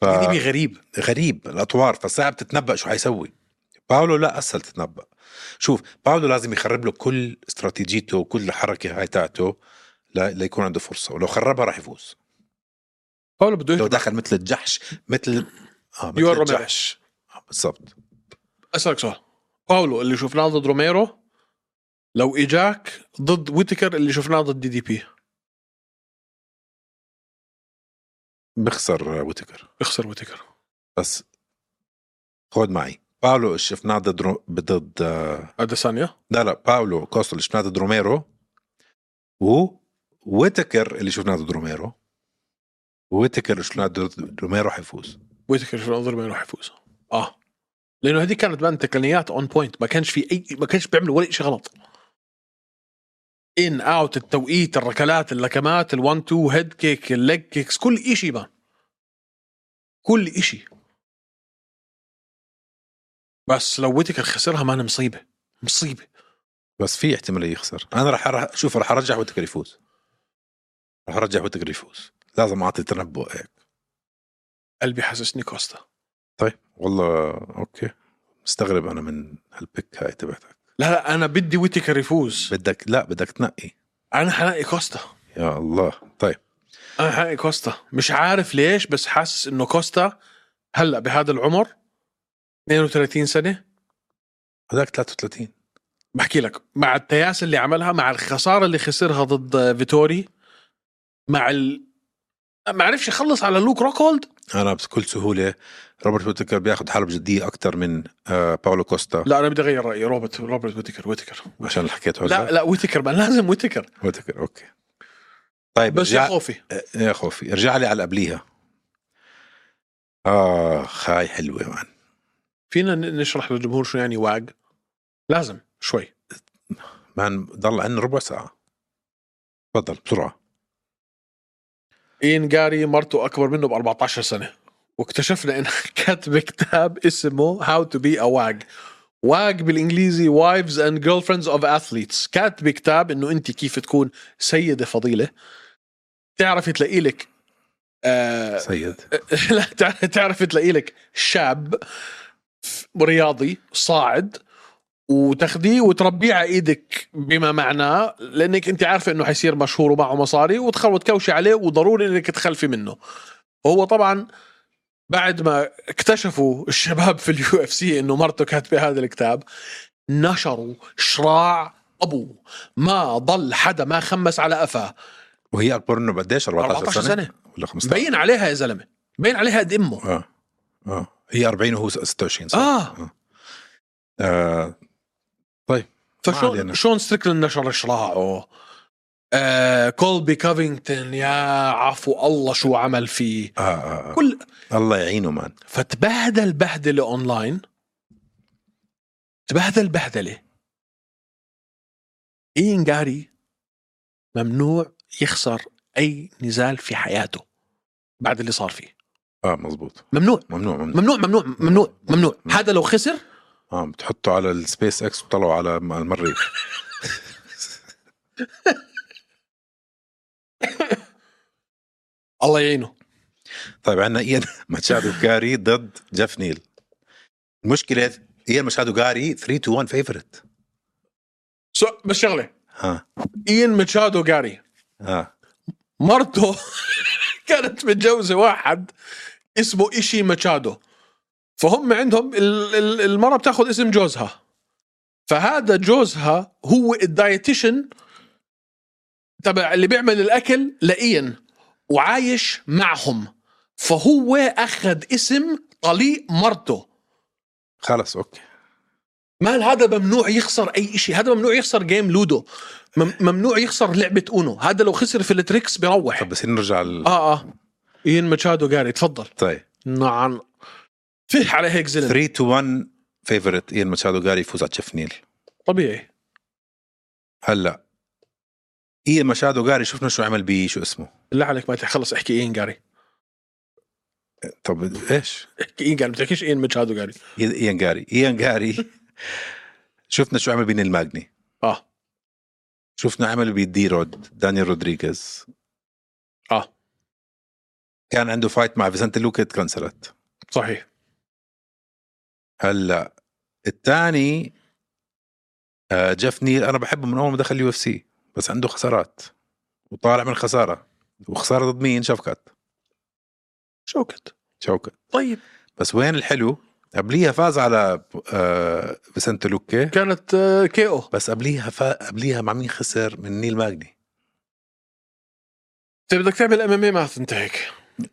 S1: ف...
S2: دي دي بي غريب
S1: غريب الاطوار فصعب تتنبا شو حيسوي باولو لا اسهل تتنبا شوف باولو لازم يخرب له كل استراتيجيته وكل الحركه هاي تاعته ل- ليكون عنده فرصه ولو خربها راح يفوز
S2: باولو بده
S1: لو
S2: يهجم
S1: دخل مثل الجحش مثل اه مثل
S2: يور روميرو.
S1: الجحش آه، بالضبط
S2: اسالك سؤال باولو اللي شفناه ضد روميرو لو اجاك ضد ويتكر اللي شفناه ضد دي دي بي
S1: بخسر ويتكر
S2: اخسر وتكر
S1: بس خود معي باولو شفناه ضد رو- ضد
S2: اديسانيا
S1: لا لا باولو كوستل اللي شفناه ضد روميرو و ويتكر اللي شفناه ضد روميرو ويتكر اللي شفناه ضد روميرو حيفوز
S2: ويتكر في الانظر مين راح يفوز اه لانه هذيك كانت بان تقنيات اون بوينت ما كانش في اي ما كانش بيعملوا ولا شيء غلط ان اوت التوقيت الركلات اللكمات ال1 2 هيد كيك الليج كيكس كل شيء بان كل شيء بس لو ويتكر خسرها ما أنا مصيبه مصيبه
S1: بس في احتمال يخسر انا رح أر- شوف رح ارجع ويتكر يفوز رح ارجع ويتكر يفوز لازم اعطي تنبؤ هيك
S2: قلبي حاسسني كوستا
S1: طيب والله اوكي مستغرب انا من هالبيك هاي تبعتك
S2: لا لا انا بدي ويتكر يفوز
S1: بدك لا بدك تنقي
S2: انا حلاقي كوستا
S1: يا الله طيب
S2: انا حقي آه، كوستا مش عارف ليش بس حاسس انه كوستا هلا بهذا العمر 32 سنه
S1: هذاك 33
S2: بحكي لك مع التياس اللي عملها مع الخساره اللي خسرها ضد فيتوري مع ال ما عرفش يخلص على لوك روكولد
S1: انا بكل سهوله روبرت ويتكر بياخذ حاله بجديه اكثر من آه، باولو كوستا
S2: لا انا بدي اغير رايي روبرت روبرت ويتكر ويتكر
S1: عشان اللي حكيته هلا
S2: لا لا ويتكر ما لازم ويتكر
S1: ويتكر اوكي طيب
S2: بس يا خوفي
S1: يا خوفي ارجع لي على قبليها اه هاي حلوه مان
S2: فينا ن- نشرح للجمهور شو يعني واج لازم شوي
S1: مان ضل عندنا ربع ساعه تفضل بسرعه
S2: إين جاري مرته أكبر منه ب 14 سنة واكتشفنا إنها كاتبة كتاب اسمه هاو تو بي a واج واج بالإنجليزي وايفز اند جيرل فريندز اوف اثليتس كاتبة كتاب إنه أنت كيف تكون سيدة فضيلة تعرفي تلاقي لك آه
S1: سيد
S2: لا تع- تعرف تلاقي لك شاب رياضي صاعد وتاخديه وتربيه على ايدك بما معناه لانك انت عارفه انه حيصير مشهور ومعه مصاري وتخ- وتكوشي عليه وضروري انك تخلفي منه وهو طبعا بعد ما اكتشفوا الشباب في اليو اف سي انه مرته كاتبه هذا الكتاب نشروا شراع ابوه ما ضل حدا ما خمس على قفاه
S1: وهي اكبر منه بقديش 14,
S2: 14
S1: سنه,
S2: سنة.
S1: ولا 15
S2: مبين عليها يا زلمه مبين عليها قد امه
S1: اه اه هي 40 وهو 26 صح؟
S2: اه
S1: آه. ما علينا.
S2: فشون شون ستريكلين نشر شراعه آه كولبي كافينغتون يا عفو الله شو عمل فيه
S1: آه. آه.
S2: كل
S1: آه. الله يعينه مان
S2: فتبهدل بهدله اونلاين تبهدل بهدله اين جاري ممنوع يخسر اي نزال في حياته بعد اللي صار فيه
S1: اه مزبوط
S2: ممنوع
S1: ممنوع ممنوع
S2: ممنوع ممنوع ممنوع ممنوع هذا لو خسر
S1: اه بتحطه على السبيس اكس وطلعوا على م- المريخ
S2: الله يعينه
S1: طيب عندنا ايان ماتشادو كاري ضد جيف نيل المشكله ايان ماتشادو كاري 3 تو 1 فيفورت
S2: سو بس شغله
S1: ها
S2: اين ماتشادو جاري
S1: اه
S2: مرته كانت متجوزة واحد اسمه إيشي ماتشادو فهم عندهم ال- ال- المرة بتاخذ اسم جوزها فهذا جوزها هو الدايتيشن تبع اللي بيعمل الأكل لإين وعايش معهم فهو أخذ اسم طليق مرته
S1: خلص اوكي
S2: مان هذا ممنوع يخسر اي شيء هذا ممنوع يخسر جيم لودو مم- ممنوع يخسر لعبه اونو هذا لو خسر في التريكس بيروح
S1: طب بس نرجع لل...
S2: اه اه اين ماتشادو قاري تفضل
S1: طيب
S2: نعم فيه على هيك زلمه
S1: 3 تو 1 فيفورت ايان ماتشادو كاري يفوز على جيف نيل
S2: طبيعي
S1: هلا ايان ماتشادو كاري شفنا شو عمل بيه شو اسمه
S2: بالله عليك ما تخلص احكي اين قاري
S1: طب ايش
S2: احكي اين قاري ما تحكيش اين ماتشادو قاري
S1: ايان جاري ايان جاري شفنا شو عمل بين الماجني
S2: اه
S1: شفنا عمل بيدي رود دانيال رودريغيز
S2: اه
S1: كان عنده فايت مع فيسنت لوكا اتكنسلت
S2: صحيح
S1: هلا الثاني آه جيف نيل انا بحبه من اول ما دخل اليو اف سي بس عنده خسارات وطالع من خساره وخساره ضد مين شفكت
S2: شوكت
S1: شوكت
S2: طيب
S1: بس وين الحلو قبليها فاز على آه فيسنت لوكا
S2: كانت آه، كي او
S1: بس قبليها فا... قبليها مع مين خسر من نيل ماجني
S2: طيب، إيه انت بدك تعمل ام ام اي ما تنتهيك
S1: نيد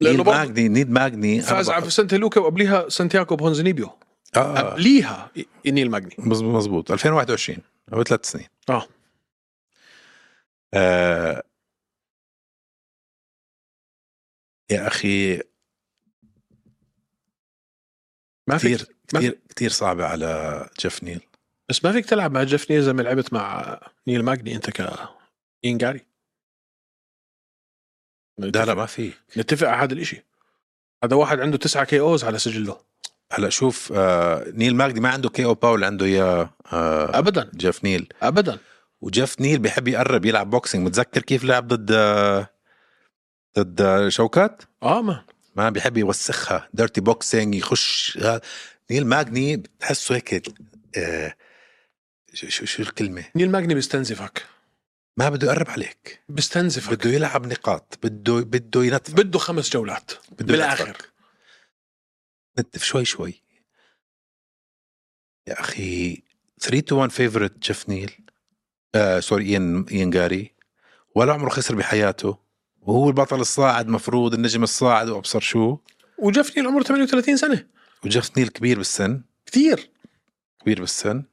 S2: لانه برضه
S1: ماجني نيد ماجني
S2: فاز على سانتا لوكا وقبليها سانتياغو بونزنيبيو
S1: آه.
S2: قبليها انيل ماجني
S1: مزبوط مزبوط 2021 قبل ثلاث سنين
S2: آه.
S1: آه. يا اخي
S2: ما فيك
S1: كثير كثير كثير صعبه على جيف نيل
S2: بس ما فيك تلعب مع جيف نيل زي ما لعبت مع نيل ماجني انت ك إين جاري
S1: لا لا ما في
S2: نتفق على هذا الاشي هذا واحد عنده تسعة كي اوز على سجله
S1: هلا شوف آه نيل ماجدي ما عنده كي او باول عنده يا آه
S2: ابدا
S1: جيف نيل
S2: ابدا
S1: وجيف نيل بيحب يقرب يلعب بوكسينج متذكر كيف لعب ضد آه ضد آه، شوكات
S2: اه ما
S1: ما بيحب يوسخها ديرتي بوكسينج يخش آه، نيل ماجني بتحسه هيك آه شو شو- شو الكلمه
S2: نيل ماجني بيستنزفك
S1: ما بده يقرب عليك
S2: بيستنزفك
S1: بده يلعب نقاط بده بده ينطفك
S2: بده خمس جولات
S1: بده
S2: بالاخر
S1: ينطفك. نتف شوي شوي يا اخي 3 تو 1 فيفورت جيف نيل آه سوري اين اين جاري ولا عمره خسر بحياته وهو البطل الصاعد مفروض النجم الصاعد وابصر شو
S2: وجيف نيل عمره 38 سنه
S1: وجيف نيل كبير بالسن
S2: كثير
S1: كبير بالسن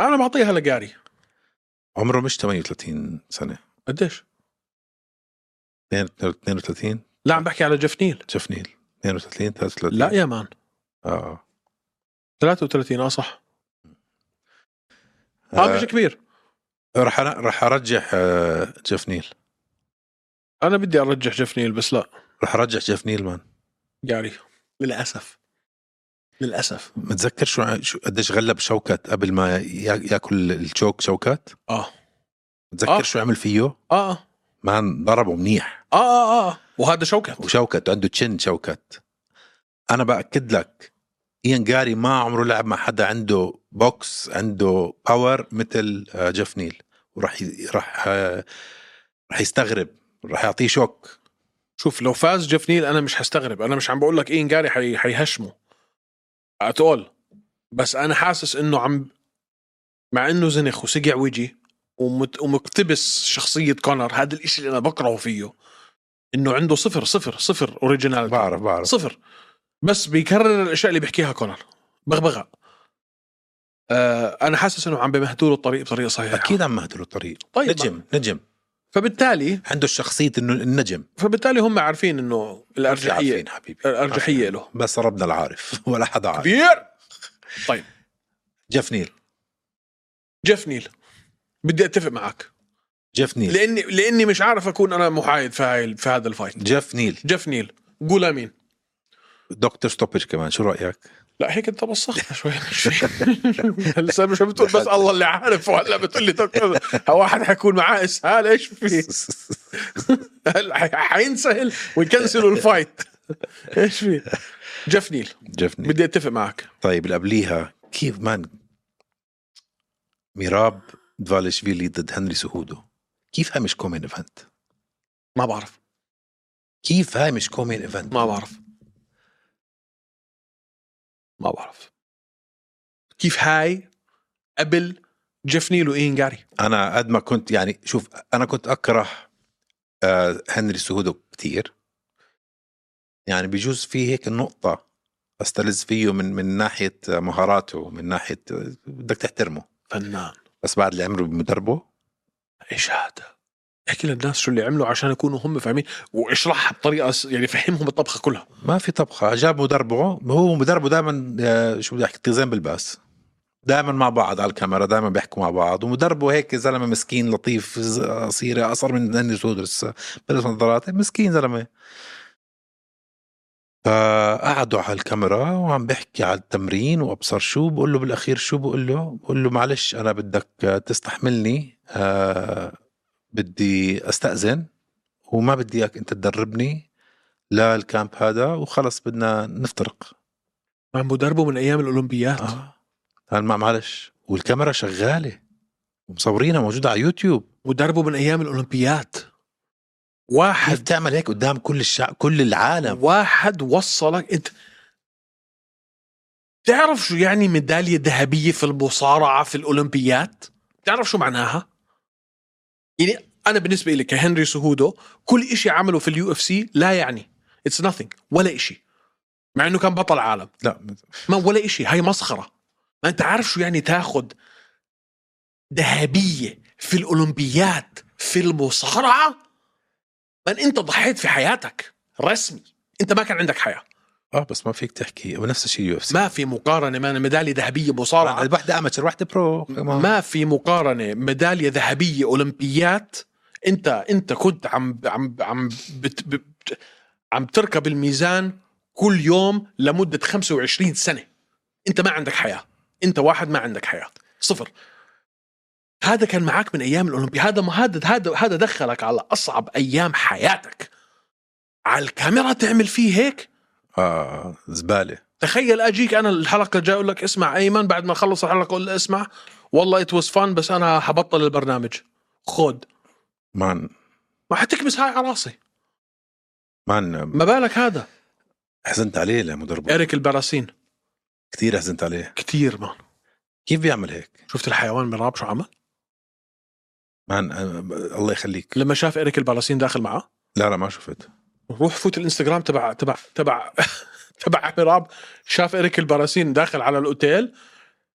S2: انا بعطيها لجاري
S1: عمره مش 38 سنه
S2: قديش؟
S1: 32
S2: لا عم بحكي على جيف نيل
S1: جيف نيل 32 33
S2: لا يا مان
S1: اه
S2: 33 اه صح اه مش كبير
S1: رح أنا- رح ارجح آه، جيف نيل
S2: انا بدي ارجح جيف نيل بس لا
S1: رح ارجح جيف نيل مان
S2: جاري للاسف للاسف
S1: متذكر شو شو- قديش غلب شوكت قبل ما يا- ياكل التشوك شوكت
S2: اه
S1: متذكر
S2: آه.
S1: شو عمل فيه
S2: اه اه
S1: مان ضربه منيح
S2: اه اه وهذا شوكت
S1: وشوكت عنده تشن شوكت انا باكد لك ايان جاري ما عمره لعب مع حدا عنده بوكس عنده باور مثل آه، جيف نيل وراح ي- راح آه، راح يستغرب راح يعطيه شوك
S2: شوف لو فاز جيف نيل انا مش هستغرب انا مش عم بقول لك اين جاري حي... حيهشمه اتقول بس انا حاسس انه عم مع انه زنخ وسقع وجهي ومت... ومقتبس شخصيه كونر هذا الاشي اللي انا بكرهه فيه انه عنده صفر صفر صفر اوريجينال
S1: بعرف بعرف
S2: صفر بس بيكرر الاشياء اللي بيحكيها كونر بغبغه آه انا حاسس انه عم بمهدوله الطريق بطريقه صحيحه
S1: اكيد عم مهدلوا الطريق
S2: نعم. طيب
S1: نجم نجم
S2: فبالتالي
S1: عنده الشخصيه انه النجم
S2: فبالتالي هم عارفين انه الارجحيه
S1: عارفين حبيبي
S2: الارجحيه له
S1: بس ربنا العارف ولا حدا عارف
S2: كبير
S1: جيف نيل
S2: جيف نيل بدي اتفق معك
S1: جيف نيل
S2: لاني لاني مش عارف اكون انا محايد في هاي في هذا الفايت
S1: جيف نيل
S2: جيف نيل قول امين
S1: دكتور ستوبج كمان شو رايك
S2: لا هيك انت وسختها شوي هلا مش بتقول بس الله اللي عارف وهلا بتقول لي دكتور واحد حيكون معاه اسهال ايش في هلا حي- حينسهل ويكنسلوا الفايت ايش في جيف نيل
S1: جيف نيل
S2: بدي اتفق معك
S1: طيب اللي قبليها كيف مان ميراب دفالشفيلي ضد هنري سهودو كيف هاي مش كومين ايفنت
S2: ما بعرف
S1: كيف هاي مش كومين ايفنت
S2: ما بعرف ما بعرف كيف هاي قبل جيف نيل وإين جاري
S1: انا قد ما كنت يعني شوف انا كنت اكره آه، هنري سهودو كثير يعني بيجوز في هيك نقطة استلذ فيه من من ناحية مهاراته من ناحية بدك تحترمه
S2: فنان
S1: بس بعد اللي عمله بمدربه
S2: ايش هذا احكي للناس شو اللي عملوا عشان يكونوا هم فاهمين واشرحها بطريقه س- يعني فهمهم الطبخه كلها
S1: ما في طبخه جاب مدربه هو مدربه دائما شو بدي احكي اتزان بالباس دائما مع بعض على الكاميرا دائما بيحكوا مع بعض ومدربه هيك زلمه مسكين لطيف ز- قصير اقصر من هني سودر لسه بلش نظارات مسكين زلمه فقعدوا على الكاميرا وعم بحكي على التمرين وابصر شو بقول له بالاخير شو بقول له بقول له معلش انا بدك تستحملني آه، بدي استاذن وما بدي اياك انت تدربني للكامب هذا وخلص بدنا نفترق
S2: مع مدربه من ايام الاولمبيات
S1: اه قال ما معلش والكاميرا شغاله ومصورينها موجوده على يوتيوب
S2: مدربه من ايام الاولمبيات
S1: كيف
S2: واحد
S1: تعمل هيك قدام كل الشعب كل العالم
S2: واحد وصلك انت تعرف شو يعني ميدالية ذهبية في المصارعة في الأولمبيات؟ تعرف شو معناها؟ يعني انا بالنسبه لي كهنري سهودو كل إشي عمله في اليو اف سي لا يعني اتس nothing ولا إشي مع انه كان بطل عالم
S1: لا
S2: ما ولا إشي هاي مسخره ما انت عارف شو يعني تاخد ذهبيه في الاولمبياد في المصارعه من انت ضحيت في حياتك رسمي انت ما كان عندك حياه
S1: اه بس ما فيك تحكي ونفس الشيء يو اف سي
S2: ما في مقارنه مان ميداليه ذهبيه مصارعه
S1: وحده اماتشر وحده برو
S2: ما في مقارنه ميداليه ذهبيه اولمبيات انت انت كنت عم عم عم بت بت عم تركب الميزان كل يوم لمده 25 سنه انت ما عندك حياه انت واحد ما عندك حياه صفر هذا كان معك من ايام الاولمبي هذا ما هذا هذا هذا دخلك على اصعب ايام حياتك على الكاميرا تعمل فيه هيك
S1: اه زباله
S2: تخيل اجيك انا الحلقه الجايه اقول لك اسمع ايمن بعد ما اخلص الحلقه اقول له اسمع والله ات واز فان بس انا حبطل البرنامج خود
S1: مان
S2: ما حتكبس هاي على راسي
S1: مان
S2: ما بالك هذا
S1: حزنت عليه لمدرب
S2: اريك البراسين
S1: كثير حزنت عليه
S2: كثير مان
S1: كيف بيعمل هيك
S2: شفت الحيوان من راب شو عمل
S1: مان آه، الله يخليك
S2: لما شاف اريك البراسين داخل معه
S1: لا لا ما شفت
S2: روح فوت الانستغرام تبع تبع تبع تبع عمي راب شاف اريك البراسين داخل على الاوتيل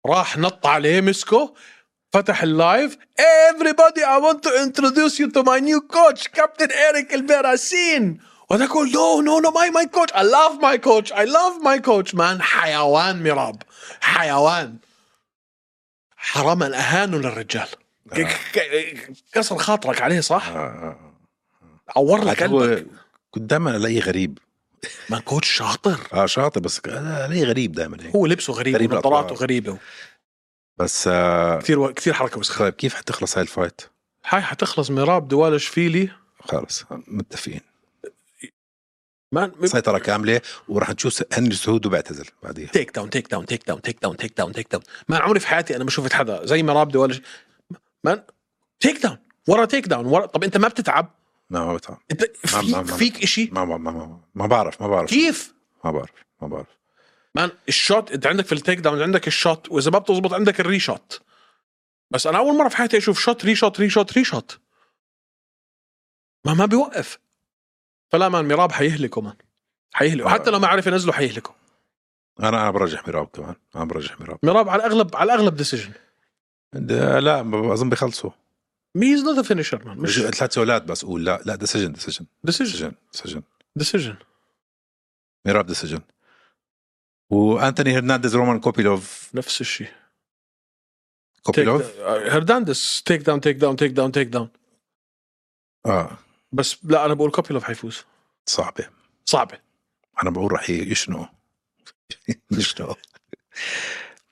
S2: راح نط عليه مسكه فتح اللايف everybody I want to introduce you to my new coach Captain Eric البراسين وهذا يقول no no no my my coach I love my coach I love my coach man حيوان مراب حيوان حرام أن أهانوا للرجال ك- ك- كسر خاطرك عليه صح؟
S1: آه، آه.
S2: عور لك
S1: عاد هو
S2: قلبك
S1: كنت دائما الاقيه غريب
S2: ما كوتش شاطر
S1: اه شاطر بس ك- آه، الاقيه غريب دائما هيك
S2: هو لبسه غريب
S1: غريب
S2: ونظاراته
S1: الأطوار.
S2: غريبه
S1: بس آه
S2: كثير كثير حركه وسخه
S1: طيب كيف حتخلص هاي الفايت؟
S2: هاي حتخلص مراب دوال شفيلي
S1: خلص متفقين
S2: ما
S1: سيطره كامله وراح نشوف هنري سهود وبعتزل بعديها
S2: تيك داون تيك داون تيك داون تيك داون تيك داون تيك داون ما عمري في حياتي انا ما شفت حدا زي مراب دوال ما تيك داون ورا تيك داون ورا طب انت ما بتتعب
S1: ما ما بتعرف
S2: انت
S1: نعم،
S2: فيك
S1: نعم، نعم.
S2: فيك شيء
S1: ما ما ما ما, ما بعرف ما بعرف
S2: كيف
S1: ما بعرف ما بعرف
S2: مان الشوت انت عندك في التيك داون عندك الشوت واذا ما بتزبط عندك الري شوت بس انا اول مره في حياتي اشوف شوت ري شوت ري شوت ري شوت ما ما بيوقف فلا مان مراب حيهلكه مان حيهلكه حتى لو ما عرف ينزله حيهلكه
S1: انا انا برجح ميراب كمان انا برجح ميراب
S2: مراب على الاغلب على الاغلب ديسيجن
S1: ده- لا ب- اظن بيخلصوا
S2: ميز نوت فينيشر مان مش
S1: مش ثلاث سؤالات بس قول لا لا ده سجن ده سجن
S2: ديسيجن
S1: سجن سجن
S2: ديسيجن
S1: ميراب ده سجن وانتوني هرنانديز رومان كوبيلوف
S2: نفس الشيء uh,
S1: كوبيلوف
S2: هرداندس تيك داون تيك داون تيك داون تيك داون
S1: اه
S2: بس لا انا بقول كوبيلوف حيفوز
S1: صعبه
S2: صعبه
S1: انا بقول راح يشنقوا يشنقوا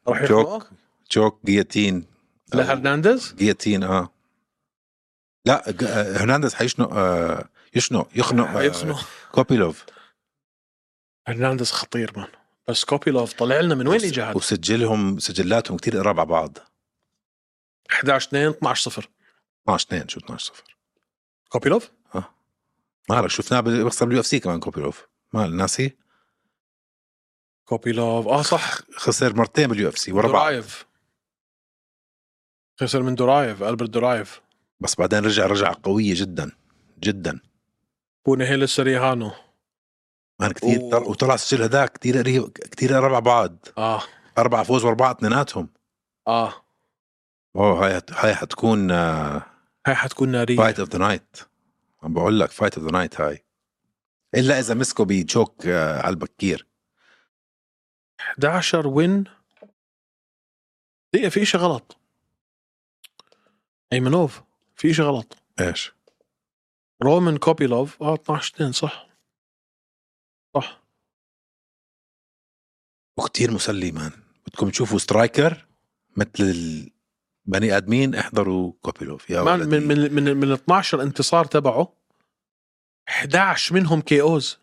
S2: راح
S1: جوك.
S2: يخنقه
S1: جوك جياتين
S2: لهرنانديز
S1: جياتين اه لا ج- آه، هرنانديز حيشنق آه، يشنق يخنق آه،
S2: يخنقه.
S1: كوبيلوف
S2: هرنانديز خطير مان بس كوبيلوف طلع لنا من وين اجى هذا؟
S1: وسجلهم سجلاتهم كتير قراب على بعض
S2: 11 2 12 0
S1: 12 2 شو 12 صفر
S2: كوبيلوف
S1: ما بعرف شفناه بال- بيخسر باليو اف سي كمان كوبيلوف ما ناسي
S2: كوبيلوف اه صح
S1: خسر مرتين باليو اف سي ورا بعض
S2: دورايف خسر من دورايف البرت دورايف
S1: بس بعدين رجع رجعه قويه جدا جدا
S2: بونيهيل سريهانو
S1: كان كثير
S2: و-
S1: طل... وطلع السجل هذاك كثير قريب كثير قراب على بعض
S2: اه
S1: اربعه فوز ورا بعض اثنيناتهم
S2: اه
S1: اوه هاي هاي حتكون آه،
S2: هاي حتكون ناريه
S1: فايت اوف ذا نايت عم بقول لك فايت اوف ذا نايت هاي الا اذا مسكوا بتشوك آه، على البكير
S2: 11 وين دقيقة في شيء غلط ايمنوف في شيء غلط
S1: ايش
S2: رومان كوبيلوف اه 12 2 صح صح
S1: وكتير مسلي مان بدكم تشوفوا سترايكر مثل البني ادمين احضروا كوبيلوف يا
S2: من من
S1: من
S2: من من, من 12 انتصار تبعه 11 منهم كي اوز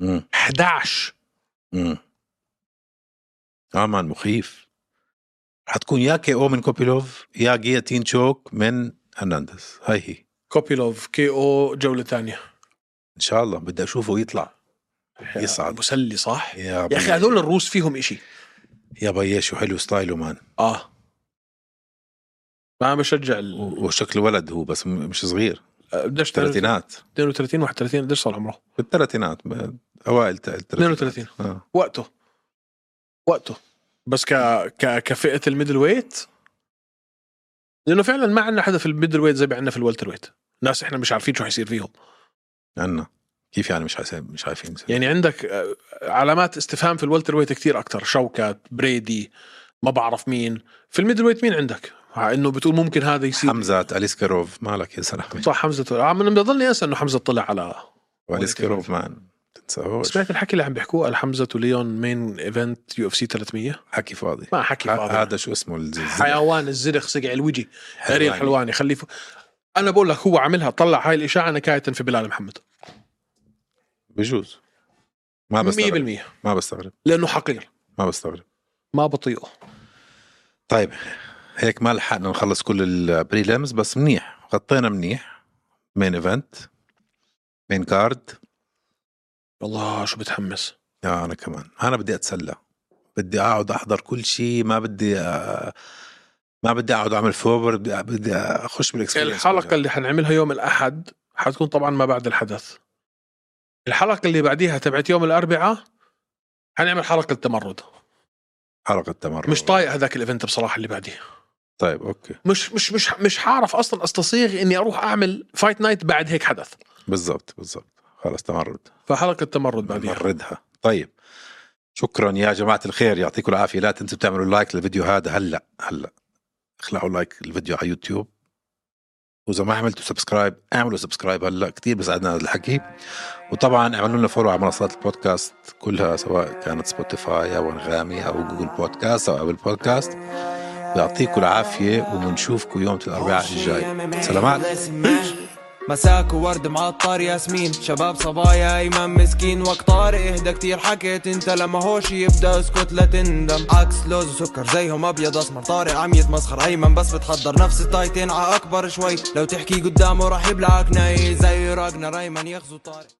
S1: من
S2: 11
S1: امم اه مان مخيف حتكون يا كي او من كوبيلوف يا جياتين تشوك من هرنانديز هاي هي
S2: كوبيلوف كي او جولة ثانية
S1: ان شاء الله بدي اشوفه يطلع يصعد.
S2: مسلي صح
S1: يا
S2: يا اخي
S1: بي-
S2: هذول الروس فيهم إشي
S1: يا بيي شو حلو ستايله مان
S2: اه آه. ما عم بشجع ال... أه،
S1: و- وشكله ولد هو بس م- مش صغير
S2: بدش
S1: ثلاثينات
S2: 32 31 قديش صار عمره؟
S1: بالثلاثينات ب- اوائل الت- الثلاثينات
S2: 32
S1: آه.
S2: وقته وقته بس ك ك كفئه الميدل ويت لانه فعلا ما عندنا حدا في الميدل ويت زي ما عندنا في الوالتر ويت ناس احنا مش عارفين شو حيصير فيهم
S1: عنا كيف يعني مش عايزين مش عارفين
S2: يعني عندك آه، علامات استفهام في الوالتر ويت كثير اكثر شوكات بريدي ما بعرف مين في الميدل ويت مين عندك مع انه بتقول ممكن هذا يصير
S1: حمزه اليسكاروف مالك يا سلام
S2: صح حمزه طلع آه، عم انا بضلني انسى انه حمزه طلع على
S1: واليسكاروف مان تنساهوش
S2: سمعت الحكي اللي عم بيحكوه على حمزه وليون مين ايفنت يو اف سي 300
S1: حكي فاضي
S2: ما حكي
S1: ه-
S2: فاضي.
S1: هذا شو اسمه الزلزال
S2: حيوان الزرخ سقع الوجي اريل حلواني خليه ف... انا بقول لك هو عاملها طلع هاي الاشاعه نكايه في بلال محمد
S1: بجوز ما
S2: 100%
S1: بستغرب ما بستغرب
S2: لانه حقير
S1: ما بستغرب
S2: ما بطيئه
S1: طيب هيك ما لحقنا نخلص كل البريلمز بس منيح غطينا منيح مين ايفنت مين كارد
S2: والله شو بتحمس
S1: اه انا كمان انا بدي اتسلى بدي اقعد احضر كل شيء ما بدي آه، ما بدي اقعد اعمل فوبر بدي بدي اخش بالاكسبيرينس
S2: الحلقه اللي حنعملها يوم الاحد حتكون طبعا ما بعد الحدث الحلقه اللي بعديها تبعت يوم الاربعاء حنعمل حلقه تمرد
S1: حلقه تمرد
S2: مش طايق هذاك الايفنت بصراحه اللي بعديه
S1: طيب اوكي
S2: مش مش مش مش حعرف اصلا استصيغ اني اروح اعمل فايت نايت بعد هيك حدث
S1: بالضبط بالضبط خلص تمرد
S2: فحلقه تمرد بعديها
S1: نمردها طيب شكرا يا جماعه الخير يعطيكم العافيه لا تنسوا تعملوا لايك للفيديو هذا هلا هلا اخلعوا لايك الفيديو على يوتيوب واذا ما عملتوا سبسكرايب اعملوا سبسكرايب هلا كثير بيساعدنا هذا الحكي وطبعا اعملوا لنا فولو على منصات البودكاست كلها سواء كانت سبوتيفاي او انغامي او جوجل بودكاست او ابل بودكاست يعطيكم العافيه وبنشوفكم يوم الاربعاء الجاي سلامات
S3: مساك وورد معطر ياسمين شباب صبايا ايمن مسكين وقت طارق اهدى كتير حكيت انت لما هوش يبدا اسكت لا تندم عكس لوز وسكر زيهم ابيض اسمر طارق عم يتمسخر ايمن بس بتحضر نفس التايتين ع اكبر شوي لو تحكي قدامه راح يبلعك ناي زي راجنا ريمان يغزو طارق